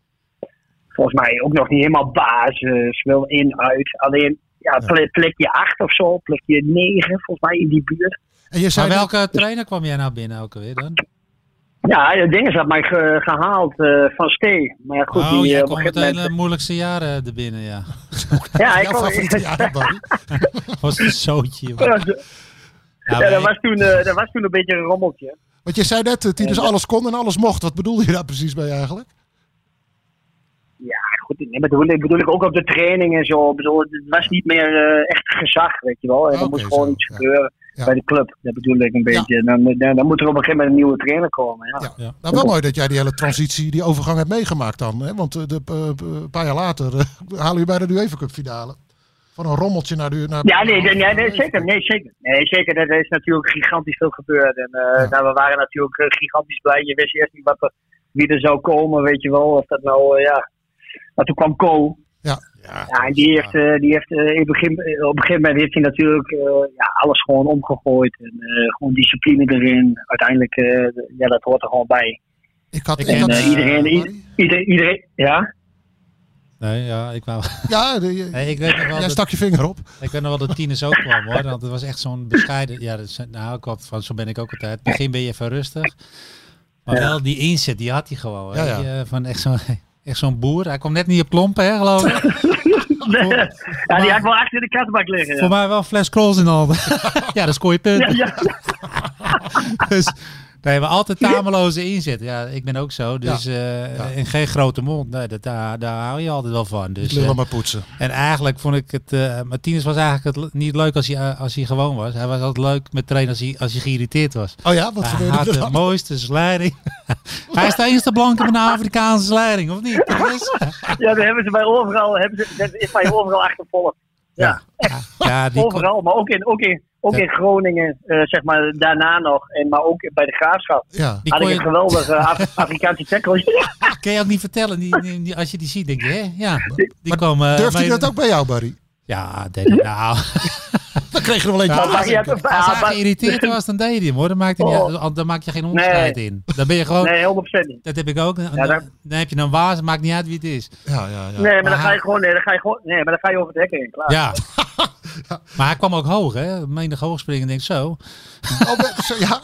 volgens mij ook nog niet helemaal basis, wel in, uit. Alleen, ja, pl- plekje acht of zo, plekje negen, volgens mij in die buurt. En je zei Maar welke? welke trainer kwam jij nou binnen ook alweer dan? Ja, dat ding is dat mij ge- gehaald eh, van Stee. Maar ja, goed, oh, die, jij eh, op een kwam gegeven meteen moment... de moeilijkste jaren eh, er binnen, ja. <laughs> ja, ik eh, jouw kwam, favoriete jaren, Barry? Was een zootje. <laughs> Nou, ja, maar- Ja, dat, maar was toen, eh, dat was toen een beetje een rommeltje. Want je zei net, eh, Tinus, alles kon en alles mocht. Wat bedoelde je daar precies bij eigenlijk? Ja, goed, nee, bedoel, ik bedoel ik ook op de training en zo. Ik Bedoel, het was niet meer eh, echt gezag, weet je wel. Ah, En er oké, moest gewoon zo, iets ja. gebeuren Ja. bij de club. Dat bedoel ik een Ja. beetje. En Dan, moet- dan, dan moet er op een gegeven moment een nieuwe trainer komen. Ja. Ja. Nou, wel mooi dat jij die hele transitie, die overgang hebt meegemaakt dan. Hè? Want eh, de, eh, een paar jaar later eh, <laughs> halen jullie bij de UEFA Cup finale. Van een rommeltje naar de... Naar, Ja, nee, nee, nee, naar- nee, zeker. Nee, zeker. Nee, zeker. Er is natuurlijk gigantisch veel gebeurd. En eh, nou, we waren natuurlijk eh, gigantisch blij. Je wist eerst niet wat er, wie er zou komen, weet je wel. Of dat nou, eh, ja. Maar toen kwam Ko. Ja. Ja, en die heeft, eh, die heeft eh, in het begin, eh, op een gegeven moment heeft hij natuurlijk eh, ja, alles gewoon omgegooid. En, eh, gewoon discipline erin. Uiteindelijk, eh, ja, dat hoort er gewoon bij. Ik had, Ik ik ken, had En eh, eh, iedereen, i- Barry? ieder- iedereen, ja? Nee, ja, ik, wou, Ja, de- je- nee, ik weet nog wel jij dat- stak je vinger op. Ik weet nog wel dat tieners ook kwam hoor. Want het was echt zo'n bescheiden. Ja, dat is, nou, ik had van, zo ben ik ook altijd. Het begin ben je even rustig. Maar wel die inzet, die had hij gewoon. hè. Ja, ja. Die, eh, van echt zo'n <laughs> echt zo'n boer. Hij kwam net niet op klompen, hè, geloof ik. Voor, Ja, die had ik wel achter in de kastbak liggen. <laughs> voor Ja. mij wel fles Krols in de handen. <laughs> ja, dan scoor je punten. Ja, ja. Dus we hebben altijd tameloze inzet. Ja, ik ben ook zo. Dus, eh, En geen grote mond. Nee, dat, daar, daar hou je altijd wel van. Dus, eh, Lullen maar poetsen. En eigenlijk vond ik het. eh Martinez was eigenlijk het, niet leuk als hij, eh, als hij gewoon was. Hij was altijd leuk met trainen als hij, als hij geïrriteerd was. Oh ja, wat Hij had gebeurde er de dan? mooiste slijding. <laughs> hij is de enige blanke met een Afrikaanse slijding, of niet? Dat is- ja, daar hebben ze bij overal, hebben ze, dat is bij overal achtervolgd. ja. ja, die kon- Overal, maar ook in, ook in, ook Ja. in Groningen, eh, zeg maar, daarna nog. En, maar ook bij de Graafschap. Ja. die Had kon ik een je, geweldige Af- <laughs> Afrikaanse tackle. Ja. kan je ook niet vertellen. Die, die- die- als je die ziet, denk je, hè? Ja, die kwam. eh, Durfde hij mee- dat ook bij jou, Barry? Ja, deed hij. Nou, <laughs> Dan kreeg je er wel Ja, eentje. Maar je hebt- als hij ah, maar- Oh. geïrriteerd was, dan deed hij hem hoor. Dan, maakte hij niet- dan maak je geen onderscheid in. Dan ben je gewoon. Nee, 100% niet. Dat heb ik ook. Dan, dat- dan heb je een waas, maakt niet uit wie het is. Ja, ja, ja. Nee, maar dan Maar- ga je gewoon, nee, dan ga je gewoon, nee, maar dan ga je over het hek heen. <laughs> Klaar. Ah. <laughs> Ja. Maar hij kwam ook hoog, hè? Menig hoog springen, denk ik zo. Oh, maar- zo- ja.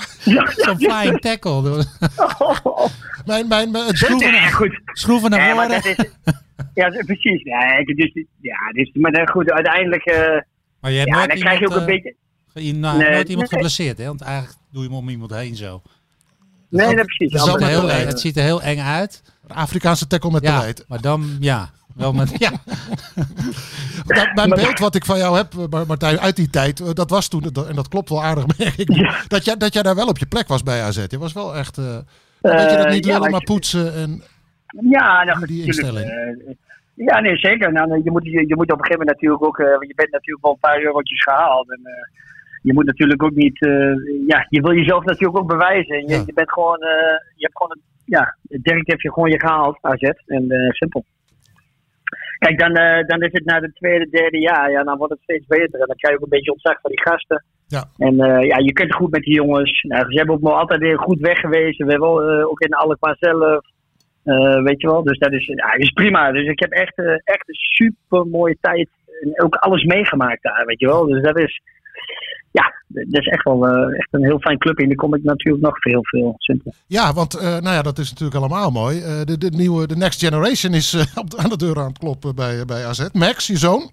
Zo'n flying <laughs> tackle. Mijn, mijn, mijn, het Ja, beeld- goed. Schroeven naar Ja, maar voren. dat Maar, is, ja, precies. Nee, dus, ja, dus, maar dan goed, uiteindelijk, eh, je hebt ja, nooit dan krijg je ook iemand, een beetje... eh, je- nou, Nee, nooit iemand nee. geblesseerd, hè? Want eigenlijk doe je hem om iemand heen zo. Nee, dat precies. Het, zal ziet er maar heel, door, eng- hè. het ziet er heel eng uit. Afrikaanse tackle met Ja, beleid. maar dan, ja. Wel met, ja. Dat, mijn beeld wat ik van jou heb, eh, Mar- Martijn, uit die tijd, eh, dat was toen, dat- en dat klopt wel aardig, <laughs> merk ik, dat, jij, dat jij daar wel op je plek was bij AZ. Je was wel echt, eh dat je dat niet ja, lullen, maar maar ik- poetsen. En, Ja, nou, goed, Die natuurlijk, instelling. eh, ja, nee, zeker. Nou, nee, je, moet, je, je moet op een gegeven moment natuurlijk ook, eh, want je bent natuurlijk wel een paar eurotjes gehaald. En, eh, je moet natuurlijk ook niet, eh, ja, je wil jezelf natuurlijk ook bewijzen. Je, Ja. je bent gewoon, eh, je hebt gewoon, een- ja, Dirk heeft je gewoon je gehaald, AZ. En eh, simpel. Kijk, dan, eh, dan is het na het tweede, derde jaar, ja, dan wordt het steeds beter. En dan krijg je ook een beetje ontzag van die gasten. ja, En eh, ja, je kunt goed met die jongens. Nou, ze hebben ook wel altijd weer goed weg geweest. We hebben wel, eh, ook in Alkmaar zelf. Eh, weet je wel, dus dat is, ja, is prima. Dus ik heb echt, eh, echt een super mooie tijd. En ook alles meegemaakt daar, weet je wel. Dus dat is, ja, dat is echt wel eh, echt een heel fijn club. En daar kom ik natuurlijk nog veel, veel simpel. ja, want eh, nou ja, dat is natuurlijk allemaal mooi. Eh, de, de nieuwe, de next generation is eh, <laughs> op de- aan de deur aan het kloppen bij, eh, bij AZ. Max, je zoon.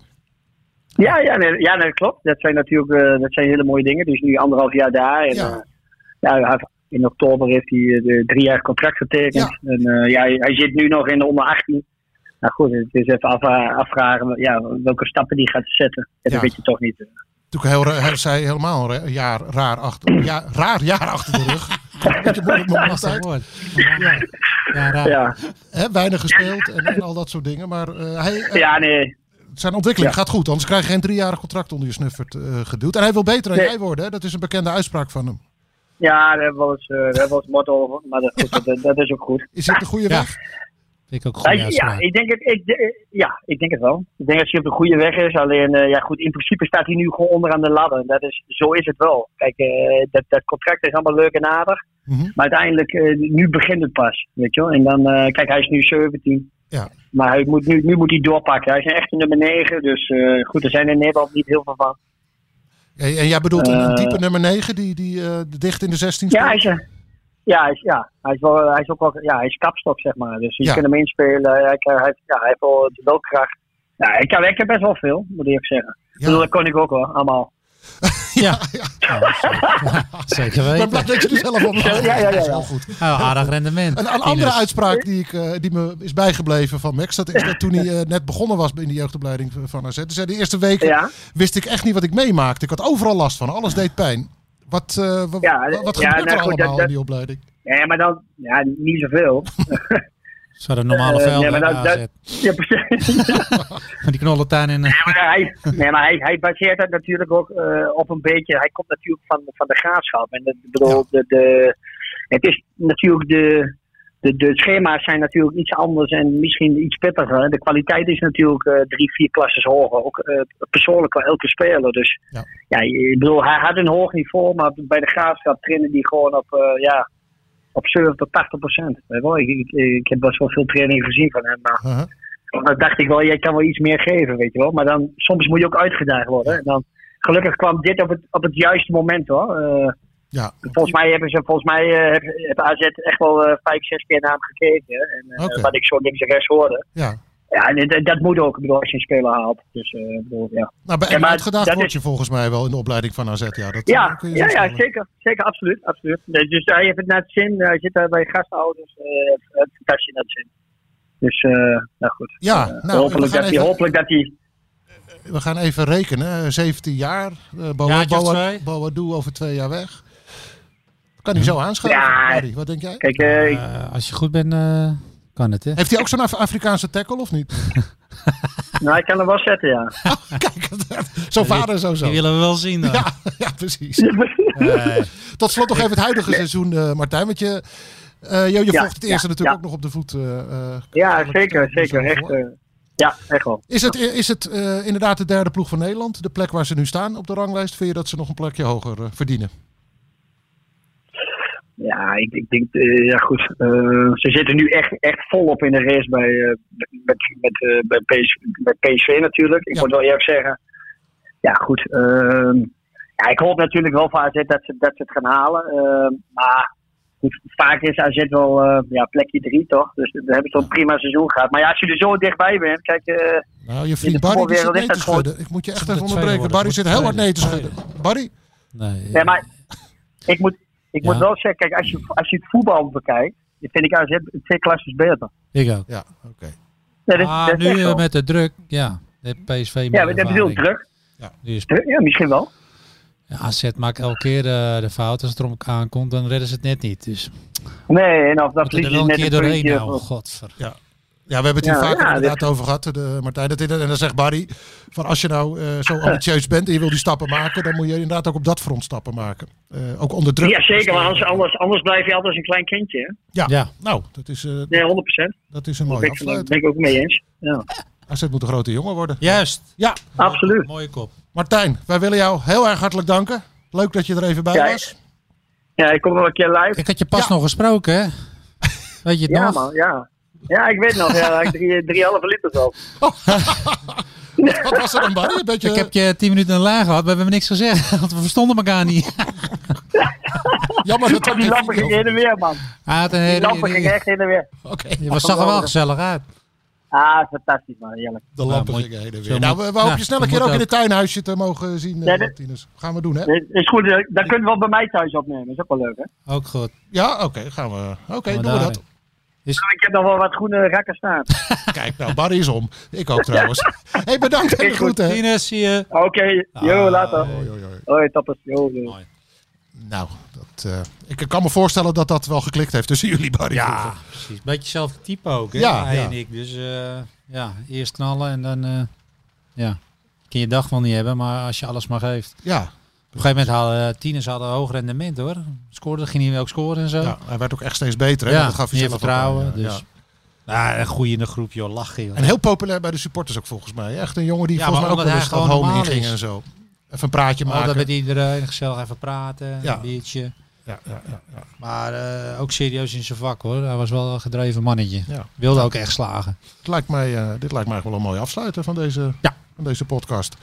Ja, ja, nee, ja nee, dat klopt. Dat zijn natuurlijk eh, dat zijn hele mooie dingen. Dus nu anderhalf jaar daar. En, Ja. eh, ja. hij heeft- in oktober heeft hij eh, de drie jaar contract getekend. En eh, ja, hij, hij zit nu nog in de onder 18. Nou goed, het is even af, afvragen ja, welke stappen die gaat zetten. Dat Ja. weet je toch niet. Natuurlijk heel, ra- hij zei helemaal een ra- jaar, raar achter, ja, raar jaar achter de <laughs> rug. Beetje moeilijk, maar Lastig altijd. woord. <laughs> Ja, ja, raar. Ja, Hè, weinig gespeeld en, en al dat soort dingen. Maar eh, hij, eh, ja nee. zijn ontwikkeling gaat goed. Anders krijg je geen driejarig contract onder je snuffert eh, geduwd. En hij wil beter dan Nee. jij worden. Hè? Dat is een bekende uitspraak van hem. Ja, daar hebben we wel eens, eh, daar hebben we wel eens mot over. Maar dat, goed, dat, dat is ook goed. Is dit de Ja. goede weg? Vind ik ook Ja, goed. ja, ik denk het, ik, de- ja, ik denk het wel. Ik denk dat hij op de goede weg is. Alleen, eh, ja, goed, in principe staat hij nu gewoon onderaan de ladder. Dat is, zo is het wel. Kijk, eh, dat, dat contract is allemaal leuk en aardig. Mhm. Maar uiteindelijk, eh, nu begint het pas. Weet je wel? En dan, eh, kijk, hij is nu 17. Ja. Maar hij moet, nu, nu moet hij doorpakken. Hij is een echte nummer 9. Dus eh, goed, er zijn in Nederland niet heel veel van. En, en jij bedoelt een, een Eh. type nummer 9 die, die eh, dicht in de 16 Ja, hij speelt? is, eh, ja, hij is, ja, hij is, wel, hij is ook wel ja, hij is kapstok, zeg maar. Dus je Ja. kunt hem inspelen. Hij, kan- hij, heeft- ja, hij heeft wel de loopkracht. Ja, ik, kan, ik heb best wel veel, moet ik zeggen. Ik bedoel, dat kon ik ook wel, allemaal. <laughs> Ja. Oh, <laughs> Zeker Ik ben weten. blij dat je er zelf op Ja, ja, ja, ja. Dat is heel goed. Oh, aardig rendement. Een, een andere Tieners. uitspraak die, ik, eh, die me is bijgebleven van Max, dat is dat toen hij eh, net begonnen was in de jeugdopleiding van AZ. Hij zei, de eerste weken Ja. wist ik echt niet wat ik meemaakte. Ik had overal last van, alles deed pijn. Wat, eh, wa- Ja, wa- wat ja, gebeurt er nou goed, dat- allemaal in dat- die opleiding? Nee, maar dan, ja, niet zoveel. Zo de normale Eh, velden nee, maar dat- aanzet. Ja, precies. Van die knollentuin in... eh, Ja, maar hij, nee, maar hij, hij baseert dat natuurlijk ook eh, op een beetje. Hij komt natuurlijk van, van de graafschap. En dat, ik bedoel, de, de, het is natuurlijk de, de, de schema's zijn natuurlijk iets anders en misschien iets pittiger. De kwaliteit is natuurlijk eh, drie, vier klasses hoger. Ook eh, persoonlijk voor elke speler. Dus Ja. ja. ik bedoel, hij had een hoog niveau, maar bij de graafschap trainen die gewoon op, eh, ja, op 70 tot 80 procent. Ik, ik, ik heb best wel veel trainingen gezien van hem. Maar Uh-huh. dan dacht ik wel, jij kan wel iets meer geven, weet je wel. Maar dan, soms moet je ook uitgedaagd worden. En dan, gelukkig kwam dit op het, op het juiste moment hoor. Eh, Ja, volgens mij hebben ze, volgens mij eh, heb- heb AZ echt wel eh, vijf, zes keer naar hem gekeken. En, eh, Oké. Wat ik zo links en rechts hoorde. ja. Ja, en dat, dat moet ook, ik bedoel, als je een speler haalt. Dus, eh, ik bedoel, ja. Nou, bij Ja, maar uitgedaagd dat word is- je volgens mij wel in de opleiding van AZ. Ja, dat Ja, dat kun je zo ja, ja stellen. zeker. Zeker, absoluut. absoluut. Nee, Dus hij heeft het naar het zin. Hij zit daar bij gastouders. eh het fantastisch naar het zin. Dus, eh, nou goed. Ja, nou, we, hopelijk, gaan dat hij, even, hopelijk dat hij... we gaan even rekenen. Eh, 17 jaar. eh Boa, Jaartje of Boa, twee. Boadu over twee jaar weg. Kan hij zo aanschuiven? Ja. Barry, wat denk jij? Kijk, eh, ik- Eh, als je goed bent, eh, kan het, hè? Heeft hij ook zo'n Af- Afrikaanse tackle of niet? nou, hij kan hem wel zetten, ja. Kijk, zo'n vader zo zo. Die willen we wel zien. Dan. Ja, <laughs> ja, precies. Eh, Tot slot nog even het huidige seizoen, eh, Martijn. Want je, eh, je, je Ja, volgt het eerste ja, natuurlijk ja. ook nog op de voet. eh, eh, ja, eigenlijk, zeker, eh, zeker. zo Echt, voor. eh, ja, echt wel. Is het, is het eh, inderdaad de derde ploeg van Nederland? De plek waar ze nu staan op de ranglijst? Vind je dat ze nog een plekje hoger eh, verdienen? Ja, ik, ik denk, eh, ja goed. Eh, ze zitten nu echt, echt volop in de race bij, eh, met, met, eh, bij, PS, bij PSV natuurlijk. Ik Ja. moet wel eerlijk zeggen. Ja, goed. ehm, ja, ik hoop natuurlijk wel van AZ dat ze, dat ze het gaan halen. ehm, maar goed, vaak is AZ wel eh, ja, plekje drie, toch? Dus we hebben zo'n prima seizoen gehad. Maar ja, als je er zo dichtbij bent, kijk... eh, Nou, je vriend de Barry die zit voetbalwereld nee is te dat gewoon- schudden. Ik moet je echt Ze moeten even tweede onderbreken. worden, Barry ze zit heel hard moeten nee te tweede. schudden. Barry? Nee, nee, maar ik moet, ik Ja. moet wel zeggen, kijk, als je, als je het voetbal bekijkt, dan vind ik AZ twee klasses beter. ik ook. Ja, oké. Nee, dat is- Ah, dat is nu echt eh, zo. met de druk, ja. De PSV Ja, meer we hebben heel ervaring. druk. Die is- Ja, misschien wel. ja, AZ maakt elke keer eh, de fout. Als het erop aankomt, dan redden ze het net niet. Dus Nee, en moeten of dat verlies er is wel een net keer een doorheen puntje. nou. of- Godver. Ja, we hebben het hier Ja, vaker ja, inderdaad over gehad, de, Martijn. Dat, dit- en dan zegt Barry, van als je nou eh, zo ambitieus bent en je wil die stappen maken, dan moet je inderdaad ook op dat front stappen maken. Eh, ook onder druk. Ja, zeker, maar anders, anders, anders blijf je altijd een klein kindje. hè? Ja, Ja. nou, dat is, eh, Nee, 100 procent. dat is een Daar Oh, mooie ben, ik- daar afsluiting. ben ik ook mee eens. Ja. AZ moet een grote jongen worden. Juist. Ja, Absoluut. Mooie kop. Martijn, wij willen jou heel erg hartelijk danken. Leuk dat je er even bij Ja, was. Ja, ik kom wel een keer live. Ik had je pas Ja. nog gesproken, hè? Weet je het Ja, nog? man, ja. Ja, ik weet nog. Ja, ik drie, drieënhalve liter zo. Wat was er dan, Barry? Een beetje... Ik heb je tien minuten in de lijn gehad, maar we hebben niks gezegd. Want we verstonden elkaar niet. Jammer <laughs> dat dat Die niet lampen gingen heen en weer, man. Hij had een Die lampen hele... gingen echt heen en weer. Oké, Je was zag er wel gezellig uit. Ah, fantastisch, man. Heerlijk. de lampen mooi. gingen heen en Zo weer. Nou, we, moet- we hopen nou, je snel een dat keer moet ook in het tuinhuisje te mogen zien, eh, Ja, dat- Martinus. Gaan we doen, hè? Is- Is goed, eh, dan kunt u wel bij mij thuis opnemen. Is ook wel leuk, hè? Ook goed. Ja, oké, gaan we. Oké, Gaan we doen we dat. daarin. Ik heb nog wel wat groene rakken staan. Kijk, nou, Barry is om. Ik ook trouwens. Hé, hey, bedankt en de Is goed. groeten. hè. Ines, zie je. Oké, yo, later. Hoi, hoi, hoi. Hoi, tappers. Yo, yo. Nou, dat, eh, ik kan me voorstellen dat dat wel geklikt heeft tussen jullie, Barry. Ja, vroeger. precies. Beetje hetzelfde type ook, hè? Ja, Hij ja. en ik. Dus eh, ja, eerst knallen en dan... eh, ja, kun je dag wel niet hebben, maar als je alles maar geeft. ja. Op een gegeven moment hadden eh, tieners hadden hoog rendement, hoor. Scoorde, ging hij ook scoren en zo. ja, hij werd ook echt steeds beter. Hè? Ja, Want dat gaf hij meer zelf ook vertrouwen, aan, ja, dus. ja. Ja, een goeie in de groep, joh. Lachen, joh. En heel populair bij de supporters ook volgens mij. Echt een jongen die Ja, volgens mij maar ook wel omdat eens hij dat gewoon home normaal inging is. en zo. Even een praatje Altijd maken. met iedereen gezellig even praten, Ja. een biertje. Ja, ja, ja, ja. Maar eh, ook serieus in zijn vak hoor. Hij was wel een gedreven mannetje. Ja. Wilde ook echt slagen. Het lijkt mij, eh, dit lijkt mij echt wel een mooi afsluiten van deze, Ja. van deze podcast.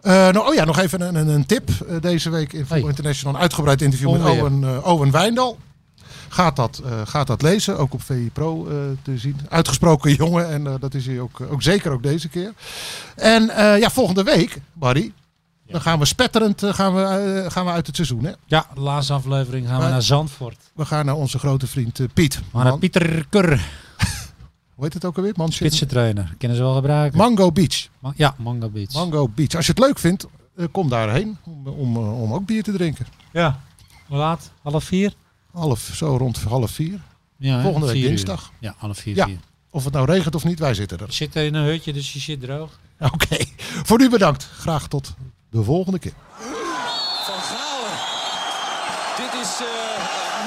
Eh, nou, oh ja, nog even een, een, een tip. Eh, deze week in Voetbal Hey. International een uitgebreid interview met Onweer. Owen, eh, Owen Wijndal. Gaat dat, eh, gaat dat lezen, ook op VI Pro eh, te zien. Uitgesproken <laughs> jongen en eh, dat is hij ook, ook zeker ook deze keer. En eh, ja, volgende week, Barry, dan gaan we spetterend eh, gaan we, eh, gaan we uit het seizoen. Hè? Ja, de laatste aflevering gaan we Maar- naar Zandvoort. We gaan naar onze grote vriend eh, Piet. We gaan naar Man- Pieter Kur, Hoe heet het ook alweer? Mansion- spitsentrainer. Kennen ze wel gebruiken. Mango Beach. Ma- ja, Mango Beach. Mango Beach. Als je het leuk vindt, eh, kom daarheen om, om, eh, om ook bier te drinken. ja. Hoe laat? Half vier? Half, zo rond half vier. Ja, hè? Volgende week Vier uur. dinsdag. Ja, half vier, Ja. vier. Of het nou regent of niet, wij zitten Je er. <laughs> zit in een hutje, dus je zit droog. Oké, voor nu bedankt. Graag tot de volgende keer. Van Galen. Dit is eh,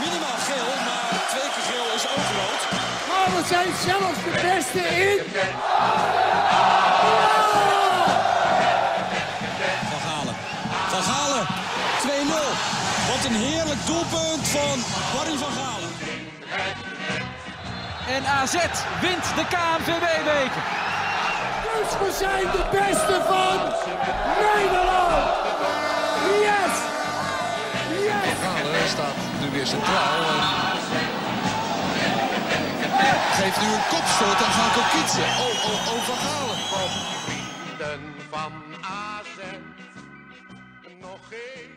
minimaal geel, maar twee keer geel is ook rood. Maar Oh, we zijn zelfs de beste in. Ah, Van Galen. Van Galen. 2-0. Wat een heerlijk doelpunt van Barry van Galen. En AZ wint de KNVB-beker. Dus we zijn de beste van Nederland. Yes! Yes! Galen staat nu weer centraal. En... Geeft nu een kopstoot aan Van Kokitse. Oh, oh, oh, Van Galen. vrienden van AZ. Nog één.